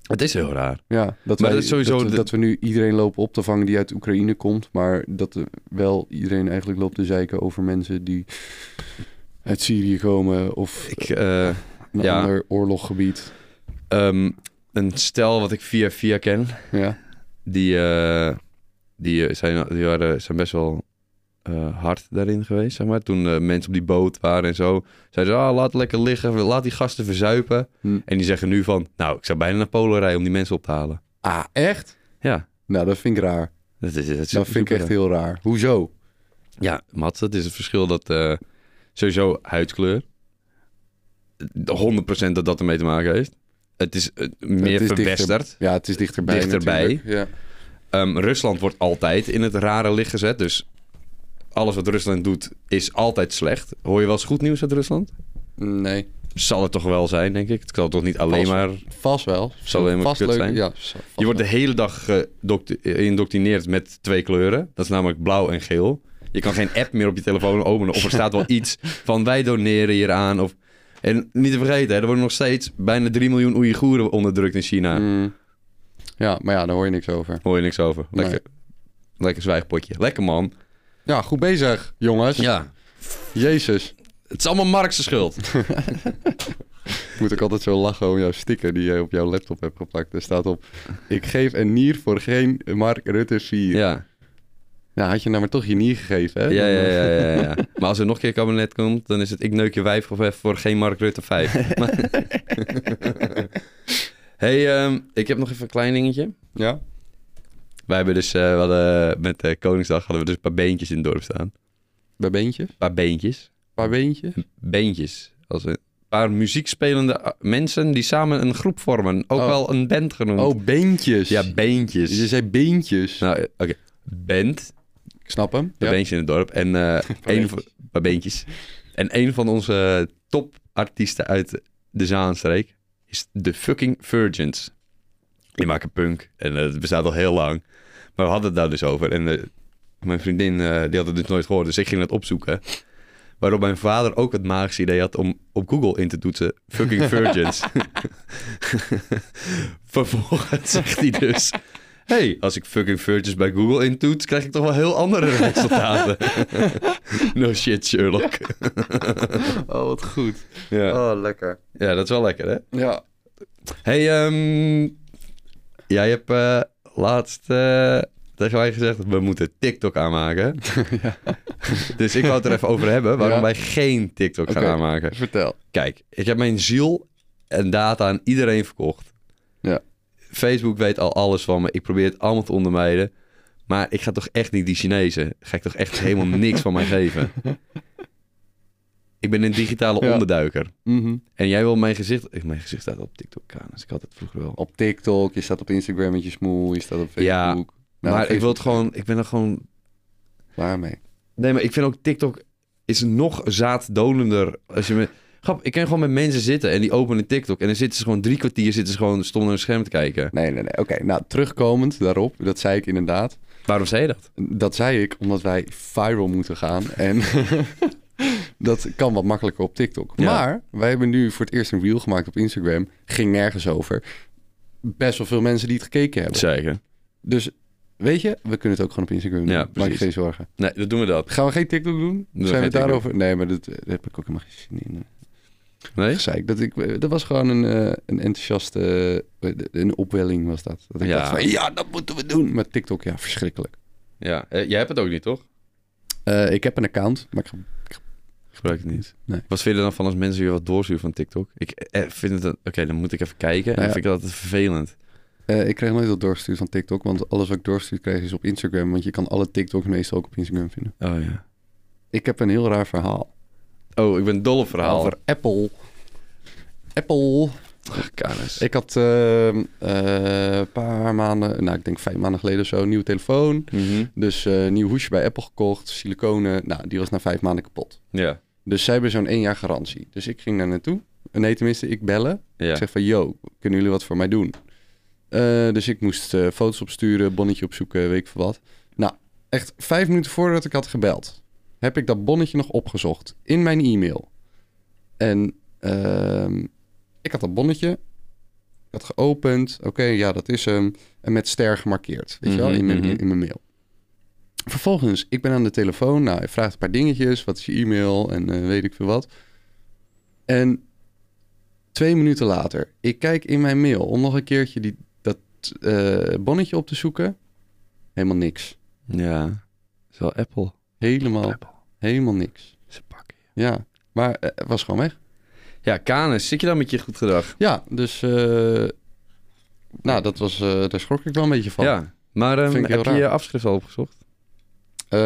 Speaker 1: Het is heel raar.
Speaker 2: Ja, dat,
Speaker 1: Maar
Speaker 2: wij-
Speaker 1: dat is sowieso
Speaker 2: dat,
Speaker 1: de-
Speaker 2: dat we nu iedereen lopen op te vangen die uit Oekraïne komt. Maar dat er wel iedereen eigenlijk loopt te zeiken over mensen die uit Syrië komen of
Speaker 1: Ik, eh,
Speaker 2: een
Speaker 1: ja.
Speaker 2: ander oorloggebied.
Speaker 1: ehm, een stel wat ik via via ken.
Speaker 2: Ja,
Speaker 1: Die, eh, die, eh, zijn, die waren, zijn best wel eh, hard daarin geweest, zeg maar. Toen eh, mensen op die boot waren en zo. Zeiden ze, ah, laat lekker liggen, laat die gasten verzuipen.
Speaker 2: Hm.
Speaker 1: En die zeggen nu van, nou, ik zou bijna naar Polen rijden om die mensen op te halen.
Speaker 2: Ah, echt?
Speaker 1: Ja,
Speaker 2: Nou, dat vind ik raar.
Speaker 1: dat is, dat is
Speaker 2: Dat vind ik
Speaker 1: super-
Speaker 2: echt heel raar. Hoezo?
Speaker 1: Ja, Mats, dat is het verschil dat eh, sowieso huidskleur. 100% dat dat ermee te maken heeft. Het is eh, meer
Speaker 2: Het is dichter-
Speaker 1: verwesterd.
Speaker 2: Ja, het is dichterbij.
Speaker 1: Dichterbij.
Speaker 2: natuurlijk. Ja.
Speaker 1: Ehm, Rusland wordt altijd in het rare licht gezet. Dus alles wat Rusland doet is altijd slecht. Hoor je wel eens goed nieuws uit Rusland?
Speaker 2: Nee.
Speaker 1: Zal het toch wel zijn, denk ik. Het kan toch niet alleen
Speaker 2: Vast-
Speaker 1: maar...
Speaker 2: Vast wel.
Speaker 1: Zal alleen maar
Speaker 2: vast
Speaker 1: kut
Speaker 2: leuk.
Speaker 1: zijn.
Speaker 2: Ja, vast
Speaker 1: Je wordt de
Speaker 2: wel.
Speaker 1: hele dag gedocti- geïndoctrineerd met twee kleuren. Dat is namelijk blauw en geel. Je kan geen app meer op je telefoon openen. Of er staat wel iets van wij doneren hier aan. Of... En niet te vergeten, hè, er worden nog steeds bijna 3 miljoen Oeigoeren onderdrukt in China.
Speaker 2: Mm. Ja, maar ja, daar hoor je niks over.
Speaker 1: Hoor je niks over. Lekker, lekker zwijgpotje. Lekker man.
Speaker 2: Ja, goed bezig, jongens.
Speaker 1: Ja.
Speaker 2: Jezus.
Speaker 1: Het is allemaal Marx' schuld.
Speaker 2: Ik moet ook altijd zo lachen om jouw sticker die jij op jouw laptop hebt geplakt. Er staat op, ik geef een nier voor geen Mark Rutte 4. Ja.
Speaker 1: ja.
Speaker 2: Nou, had je nou maar toch je nier gegeven, hè? eh,
Speaker 1: Ja, ja, ja, ja, ja, ja. Maar als er nog een keer kabinet komt, dan is het ik neuk je wijf of even voor geen Mark Rutte 5. Maar- hey, ehm, ik heb nog even een klein dingetje.
Speaker 2: Ja?
Speaker 1: Wij hebben dus, eh, we hadden, met eh, Koningsdag hadden we dus een paar beentjes in het dorp staan.
Speaker 2: Bij beentje?
Speaker 1: Een paar beentjes.
Speaker 2: Paar beentje?
Speaker 1: Beentjes. Als een paar muziekspelende ah, mensen die samen een groep vormen. Ook
Speaker 2: Oh.
Speaker 1: wel een band genoemd.
Speaker 2: Oh, beentjes.
Speaker 1: Ja, beentjes.
Speaker 2: je zei beentjes.
Speaker 1: Nou, eh, oké. Band,
Speaker 2: ik snap hem.
Speaker 1: een
Speaker 2: Ja.
Speaker 1: beentje in het dorp. En eh, een van,
Speaker 2: beentjes.
Speaker 1: paar beentjes. En een van onze topartiesten uit de Zaanstreek is de fucking Virgins. Die maken punk en eh, het bestaat al heel lang. Maar we hadden het daar dus over. En eh, mijn vriendin eh, die had het dus nooit gehoord, dus ik ging dat opzoeken. Waarop mijn vader ook het magische idee had om op Google in te toetsen: fucking Virgins. Vervolgens zegt hij dus: hey, als ik fucking Virgins bij Google intoets, krijg ik toch wel heel andere resultaten. no shit, Sherlock.
Speaker 2: Oh, wat goed.
Speaker 1: Ja.
Speaker 2: Oh, lekker.
Speaker 1: ja, dat is wel lekker, hè?
Speaker 2: Ja.
Speaker 1: Hey, ehm, jij hebt eh, laatst eh, tegen mij gezegd, we moeten TikTok aanmaken. dus ik wou het er even over hebben, waarom
Speaker 2: Ja.
Speaker 1: wij geen TikTok
Speaker 2: Oké.
Speaker 1: gaan aanmaken.
Speaker 2: Vertel.
Speaker 1: Kijk, ik heb mijn ziel en data aan iedereen verkocht.
Speaker 2: Ja.
Speaker 1: Facebook weet al alles van me. Ik probeer het allemaal te ondermijden. Maar ik ga toch echt niet die Chinezen. Ga ik toch echt helemaal niks van mij geven. Ik ben een digitale
Speaker 2: Ja.
Speaker 1: onderduiker.
Speaker 2: Mhm.
Speaker 1: En jij wil mijn gezicht... eh, Mijn gezicht staat op TikTok aan. Dus ik had het vroeger wel.
Speaker 2: Op TikTok, je staat op Instagram met je smoel, je staat op Facebook.
Speaker 1: Ja,
Speaker 2: Nou,
Speaker 1: maar
Speaker 2: Facebook
Speaker 1: ik wil het gewoon... Ik ben er gewoon...
Speaker 2: Klaar mee.
Speaker 1: Nee, maar ik vind ook TikTok is nog zaaddonender. Als je me... Grap, ik kan gewoon met mensen zitten en die openen TikTok. En dan zitten ze gewoon drie kwartier zitten ze gewoon stom naar een scherm te kijken.
Speaker 2: Nee, nee, nee. Oké, nou, terugkomend daarop, dat zei ik inderdaad.
Speaker 1: Waarom zei je dat?
Speaker 2: Dat zei ik omdat wij viral moeten gaan. En dat kan wat makkelijker op TikTok.
Speaker 1: Ja.
Speaker 2: Maar wij hebben nu voor het eerst een reel gemaakt op Instagram. Ging nergens over. Best wel veel mensen die het gekeken hebben.
Speaker 1: Zeker.
Speaker 2: Dus weet je, we kunnen het ook gewoon op Instagram doen.
Speaker 1: Ja,
Speaker 2: Maak je
Speaker 1: precies.
Speaker 2: geen zorgen.
Speaker 1: Nee, dat doen we dat.
Speaker 2: Gaan we geen TikTok doen?
Speaker 1: we
Speaker 2: Zijn we
Speaker 1: geen
Speaker 2: het
Speaker 1: TikTok.
Speaker 2: daarover? Nee, maar dat, daar heb ik ook helemaal geen zin in.
Speaker 1: Nee?
Speaker 2: Gezeik. Dat, ik, dat was gewoon een, eh, een enthousiaste... eh, Een opwelling was dat. Dat ik
Speaker 1: Ja.
Speaker 2: dacht van, ja, dat moeten we doen. Maar TikTok, ja, verschrikkelijk.
Speaker 1: Ja. Eh, Jij hebt het ook niet, toch?
Speaker 2: Eh, ik heb een account, maar ik
Speaker 1: Gebruik het niet.
Speaker 2: Nee.
Speaker 1: Wat vind je er dan van als mensen weer wat doorsturen van TikTok? Ik eh, vind het... een- Oké, dan moet ik even kijken. En
Speaker 2: Nou ja.
Speaker 1: dan vind ik dat altijd vervelend.
Speaker 2: Eh, ik kreeg nooit dat doorgestuurd van TikTok, want alles wat ik doorgestuurd kreeg is op Instagram. Want je kan alle TikToks meestal ook op Instagram vinden.
Speaker 1: Oh ja.
Speaker 2: Ik heb een heel raar verhaal.
Speaker 1: Oh, ik ben dol op verhaal.
Speaker 2: Over Apple. Apple.
Speaker 1: Kanis.
Speaker 2: Ik had ehm, eh, een paar maanden, nou ik denk vijf maanden geleden of zo, een nieuwe telefoon.
Speaker 1: Mhm.
Speaker 2: Dus eh, een nieuw hoesje bij Apple gekocht, siliconen. Nou, die was na vijf maanden kapot.
Speaker 1: Ja.
Speaker 2: Dus zij hebben zo'n één jaar garantie. Dus ik ging daar naartoe. Nee, tenminste, ik bellen.
Speaker 1: Ja.
Speaker 2: Ik zeg van, yo, kunnen jullie wat voor mij doen? Eh, dus ik moest eh, foto's opsturen, bonnetje opzoeken, weet ik veel wat. Nou, echt vijf minuten voordat ik had gebeld, heb ik dat bonnetje nog opgezocht in mijn e-mail. En ehm, ik had dat bonnetje, ik had geopend, oké, ja, dat is hem. En met ster gemarkeerd, weet je wel, in mijn,
Speaker 1: Mhm, mhm.
Speaker 2: in mijn mail. Vervolgens, ik ben aan de telefoon, nou, hij vraagt een paar dingetjes, wat is je e-mail en eh, weet ik veel wat. En Twee minuten later, ik kijk in mijn mail om nog een keertje die, dat eh, bonnetje op te zoeken. Helemaal niks.
Speaker 1: Ja. Het is wel Apple.
Speaker 2: Helemaal,
Speaker 1: Oh. Apple.
Speaker 2: helemaal niks.
Speaker 1: Ze pakken je.
Speaker 2: Ja, maar eh, het was gewoon weg.
Speaker 1: Ja, Kanis, zit je dan met je goed gedrag?
Speaker 2: Ja, dus eh, nou, dat was, eh, daar schrok ik wel een beetje van.
Speaker 1: Ja. Maar ehm,
Speaker 2: Vind ik heel
Speaker 1: heb je
Speaker 2: raar.
Speaker 1: je afschrift al opgezocht?
Speaker 2: Eh,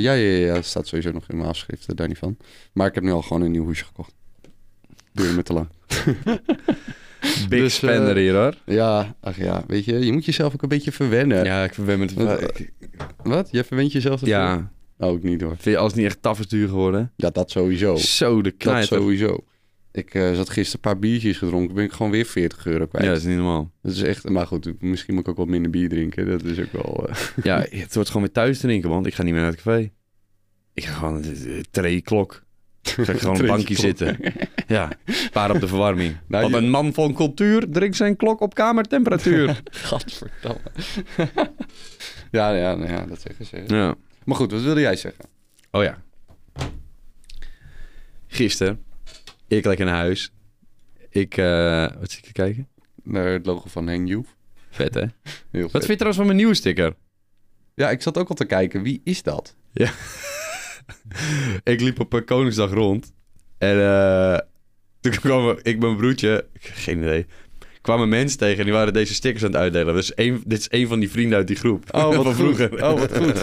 Speaker 2: ja, ja, ja, ja. Dat staat sowieso nog in mijn afschriften, daar niet van. Maar ik heb nu al gewoon een nieuw hoesje gekocht. Duurde me te lang.
Speaker 1: Big
Speaker 2: Dus, eh,
Speaker 1: spender hier hoor.
Speaker 2: Ja, ach ja, weet je, je moet jezelf ook een beetje verwennen.
Speaker 1: Ja, ik ben met...
Speaker 2: Wat- Wat? Jij verwent jezelf ervoor? Nou,
Speaker 1: Ja,
Speaker 2: Ook niet hoor.
Speaker 1: vind je als het niet echt taf is duur geworden?
Speaker 2: Ja, dat sowieso.
Speaker 1: Oh. Zo, de
Speaker 2: Dat
Speaker 1: knijter.
Speaker 2: sowieso. Ik eh, zat gisteren een paar biertjes gedronken, ben ik gewoon weer 40 euro kwijt.
Speaker 1: Ja, dat is niet normaal.
Speaker 2: Dat is echt, maar goed, misschien moet ik ook wat minder bier drinken. Dat is ook wel... eh,
Speaker 1: Ja, het wordt gewoon weer thuis drinken, want ik ga niet meer naar het café. Ik ga gewoon eh, tree klok. Dan Ga ik gewoon op een bankje
Speaker 2: Treetje
Speaker 1: zitten. Ja, paar op de verwarming.
Speaker 2: Nou,
Speaker 1: Want
Speaker 2: je-
Speaker 1: een man van cultuur drinkt zijn klok op kamertemperatuur.
Speaker 2: Gadverdamme. ja, ja, nou ja, dat zeggen ze.
Speaker 1: ja.
Speaker 2: Maar goed, wat wilde jij zeggen?
Speaker 1: Oh ja. Gisteren, ik lekker naar huis. Ik, eh, wat zit ik te kijken?
Speaker 2: Naar het logo van Heng Youth.
Speaker 1: Vet hè?
Speaker 2: Heel
Speaker 1: Wat
Speaker 2: vet.
Speaker 1: vind je trouwens van mijn nieuwe sticker?
Speaker 2: Ja, ik zat ook al te kijken, wie is dat?
Speaker 1: ik liep op eh, Koningsdag rond. En eh, toen kwam ik mijn broertje, geen idee, kwamen mensen tegen en die waren deze stickers aan het uitdelen. Dus één, dit is één van die vrienden uit die groep. van vroeger.
Speaker 2: Oh, wat goed.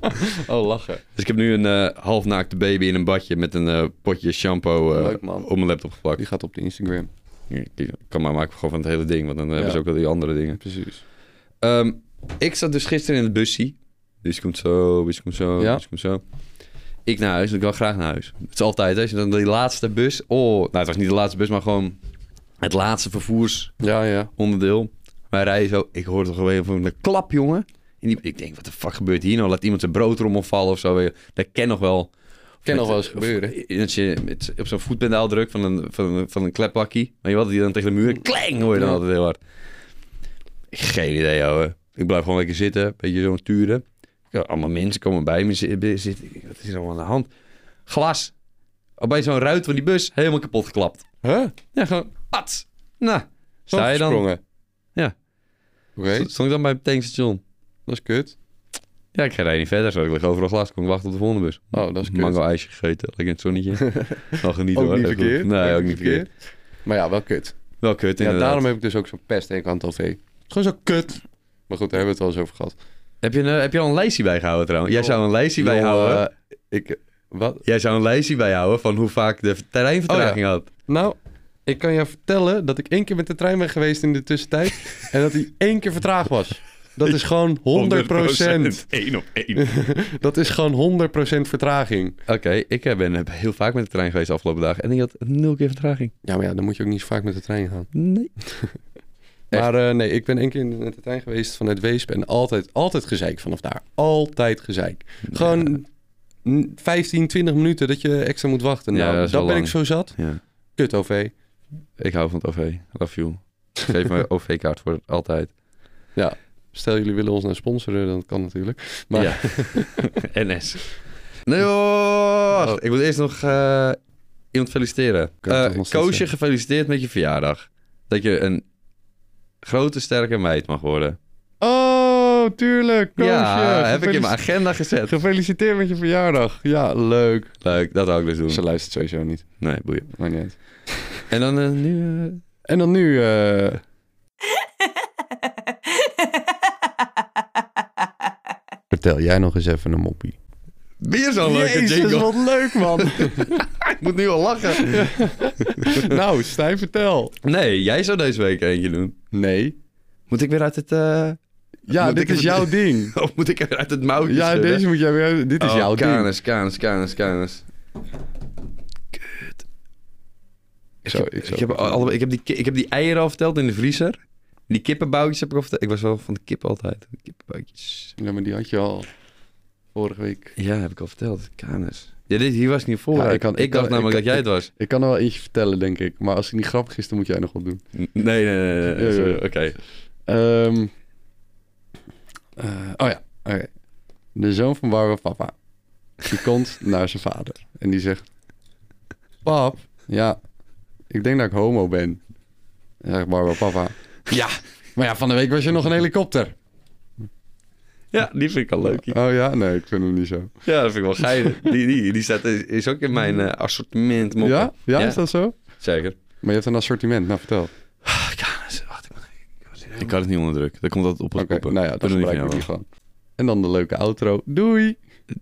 Speaker 2: oh, lachen.
Speaker 1: Dus ik heb nu een eh halfnaakte baby in een badje met een eh, potje shampoo eh,
Speaker 2: Leuk, man.
Speaker 1: op mijn laptop geplakt.
Speaker 2: Die gaat op de Instagram.
Speaker 1: Ik kan maar maken gewoon van het hele ding, want dan hebben ze
Speaker 2: Ja.
Speaker 1: ook al die andere dingen.
Speaker 2: Precies.
Speaker 1: Ehm, ik zat dus gisteren in het busje. Dus komt zo, dus komt zo,
Speaker 2: Ja.
Speaker 1: dus komt zo. Ik naar huis, want ik wil graag naar huis. Het is altijd, hè, als je dan die laatste bus... Oh, nou, het was niet de laatste bus, maar gewoon het laatste vervoersonderdeel.
Speaker 2: Ja, ja.
Speaker 1: Wij rijden zo, ik hoor toch gewoon van een klap, jongen. En die, ik denk, wat de fuck gebeurt hier nou? Laat iemand zijn broodrommel vallen of zo. Dat ken nog wel.
Speaker 2: Kan nog wel eens
Speaker 1: Of-
Speaker 2: gebeuren.
Speaker 1: Dat je met, op zo'n voetpedaal drukt van een, van een, van een klepbakkie. Maar je had die dan tegen de muur. Kling hoor je dan
Speaker 2: Ja.
Speaker 1: altijd heel hard. Geen idee, ouwe. Ik blijf gewoon lekker zitten. Een beetje zo'n turen. Ja, allemaal mensen komen bij me zi- bi- zitten. Ik denk, Wat is er allemaal aan de hand? Glas. Bij zo'n ruit van die bus. Helemaal kapot geklapt.
Speaker 2: Huh?
Speaker 1: Ja, gewoon pats. Nou, sta je dan?
Speaker 2: Opgesprongen.
Speaker 1: Ja.
Speaker 2: Oké,
Speaker 1: Stond ik dan bij het tankstation.
Speaker 2: dat is kut.
Speaker 1: Ja, ik ga daar niet verder. Zo, ik lig overal glas. Kon ik wachten op de volgende bus.
Speaker 2: Oh, dat is kut.
Speaker 1: Mango ijsje gegeten. Lekker in het zonnetje. Nog genieten
Speaker 2: ook
Speaker 1: hoor.
Speaker 2: niet
Speaker 1: Even-
Speaker 2: verkeerd.
Speaker 1: Nee, ook niet verkeerd.
Speaker 2: Maar ja, wel kut.
Speaker 1: Wel kut
Speaker 2: Ja,
Speaker 1: inderdaad.
Speaker 2: daarom heb ik dus ook zo'n pest en kant al vee. Gewoon zo kut. Maar goed, daar hebben we het al eens over gehad.
Speaker 1: Heb je, een, eh, heb je al een lijstje bijgehouden trouwens? Jij
Speaker 2: Joh.
Speaker 1: zou een lijstje
Speaker 2: Joh,
Speaker 1: bijhouden.
Speaker 2: eh, ik, wat?
Speaker 1: Jij zou een lijstje bijhouden van hoe vaak de terreinvertraging
Speaker 2: Oh ja.
Speaker 1: had.
Speaker 2: Nou, ik kan je vertellen dat ik één keer met de trein ben geweest in de tussentijd. en dat hij één keer vertraagd was. Dat is gewoon 100%.
Speaker 1: 1 op 1.
Speaker 2: Dat is gewoon 100% vertraging.
Speaker 1: Oké, ik eh, ben eh, heel vaak met de trein geweest de afgelopen dagen. En die had nul keer vertraging.
Speaker 2: Ja, maar ja, dan moet je ook niet zo vaak met de trein gaan.
Speaker 1: Nee. Echt?
Speaker 2: Maar eh, nee, ik ben één keer in- met de trein geweest vanuit Weesp en altijd, altijd gezeik vanaf daar. Altijd gezeik. Gewoon n- 15, 20 minuten dat je extra moet wachten.
Speaker 1: Ja,
Speaker 2: Nou,
Speaker 1: dat
Speaker 2: dat
Speaker 1: is wel
Speaker 2: ben
Speaker 1: lang.
Speaker 2: ik zo zat.
Speaker 1: Ja.
Speaker 2: Kut OV.
Speaker 1: Ik hou van het OV. Love you. Geef me OV-kaart voor altijd.
Speaker 2: Stel jullie willen ons nou sponsoren, dan kan natuurlijk. Maar
Speaker 1: Ja. NS. Nee joh! Ik moet eerst nog eh, iemand feliciteren.
Speaker 2: Kan Oh. ik
Speaker 1: Eh,
Speaker 2: toch nog steeds
Speaker 1: Koosje,
Speaker 2: zeggen?
Speaker 1: gefeliciteerd met je verjaardag. Dat je een grote, sterke meid mag worden.
Speaker 2: Oh, tuurlijk. Koosje.
Speaker 1: ja, heb ik in
Speaker 2: Gefeliciteerd-
Speaker 1: mijn agenda gezet.
Speaker 2: Gefeliciteerd met je verjaardag. Ja, leuk.
Speaker 1: Leuk, dat zou ik dus doen.
Speaker 2: Ze luistert sowieso niet.
Speaker 1: Nee, boeien.
Speaker 2: Maar niet. uit.
Speaker 1: En dan eh, nu... eh,
Speaker 2: En dan nu... eh, Vertel jij nog eens even een moppie.
Speaker 1: Weer zo'n leuke jingle.
Speaker 2: wat leuk man.
Speaker 1: Ik moet nu al lachen.
Speaker 2: nou, Stijn, vertel.
Speaker 1: Nee, jij zou deze week eentje doen.
Speaker 2: Nee.
Speaker 1: Moet ik weer uit het... eh,
Speaker 2: Ja,
Speaker 1: Moet
Speaker 2: dit
Speaker 1: ik het-
Speaker 2: is jouw ding.
Speaker 1: Of moet ik weer uit het mouwtje
Speaker 2: Ja,
Speaker 1: schudden?
Speaker 2: deze moet jij weer... Dit is
Speaker 1: Oh,
Speaker 2: jouw ding.
Speaker 1: Kanus, kanus, kanus, kanus.
Speaker 2: Zo,
Speaker 1: Ik,
Speaker 2: ik
Speaker 1: ik,
Speaker 2: zou-
Speaker 1: heb alle, ik, heb die, ki- ik heb die eieren al verteld in de vriezer. Die kippenboutjes heb ik al verteld. Ik was wel van de kip altijd. Kippenboutjes.
Speaker 2: Ja, maar die had je al vorige week.
Speaker 1: Ja, heb ik al verteld. Kanus. Ja, dit, hier was ik niet voor.
Speaker 2: Ja,
Speaker 1: ik,
Speaker 2: ik kan- ik
Speaker 1: dacht
Speaker 2: kan-
Speaker 1: namelijk
Speaker 2: ik
Speaker 1: dat jij
Speaker 2: kan-
Speaker 1: het was.
Speaker 2: Ik kan er wel eentje vertellen, denk ik. Maar als die niet grappig is, dan moet jij nog wat doen.
Speaker 1: Nee, nee, nee. nee, nee.
Speaker 2: Ja,
Speaker 1: Sorry,
Speaker 2: ja.
Speaker 1: Oké.
Speaker 2: Ehm, eh, oh ja, oké. De zoon van Barbara papa. Die komt naar zijn vader. En die zegt... Pap, ja, ik denk dat ik homo ben. Dan zegt Barbara papa. Ja, maar ja, van de week was je nog een helikopter.
Speaker 1: Ja, die vind ik al leuk.
Speaker 2: Oh ja, nee, ik vind hem niet zo.
Speaker 1: Ja, dat vind ik wel geil. Die, die, die staat, is, is ook in mijn eh, assortiment. moppen.
Speaker 2: Ja? ja? Is dat zo?
Speaker 1: Zeker.
Speaker 2: Maar je hebt een assortiment, nou vertel.
Speaker 1: Ah, kanus. Wacht, ik, moet- ik was hier helemaal- ik had het niet onder druk. Dat komt altijd op het
Speaker 2: Oké,
Speaker 1: koppen.
Speaker 2: nou ja,
Speaker 1: Dat
Speaker 2: dan
Speaker 1: doe ik
Speaker 2: gebruik
Speaker 1: nou
Speaker 2: ik die gewoon. En dan de leuke outro. Doei!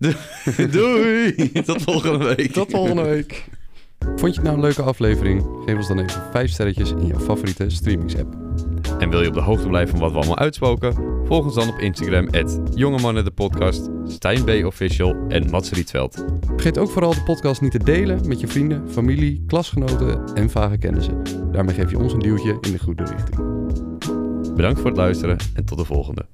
Speaker 1: Doei! Tot volgende week.
Speaker 2: Tot volgende week! Vond je het nou een leuke aflevering? Geef ons dan even 5 sterretjes in jouw favoriete streamingsapp.
Speaker 1: En wil je op de hoogte blijven van wat we allemaal uitspoken? Volg ons dan op Instagram, Jongeman de podcast, Stijn B. Official en Mats Rietveld.
Speaker 2: Vergeet ook vooral de podcast niet te delen met je vrienden, familie, klasgenoten en vage kennissen. Daarmee geef je ons een duwtje in de goede richting.
Speaker 1: Bedankt voor het luisteren en tot de volgende.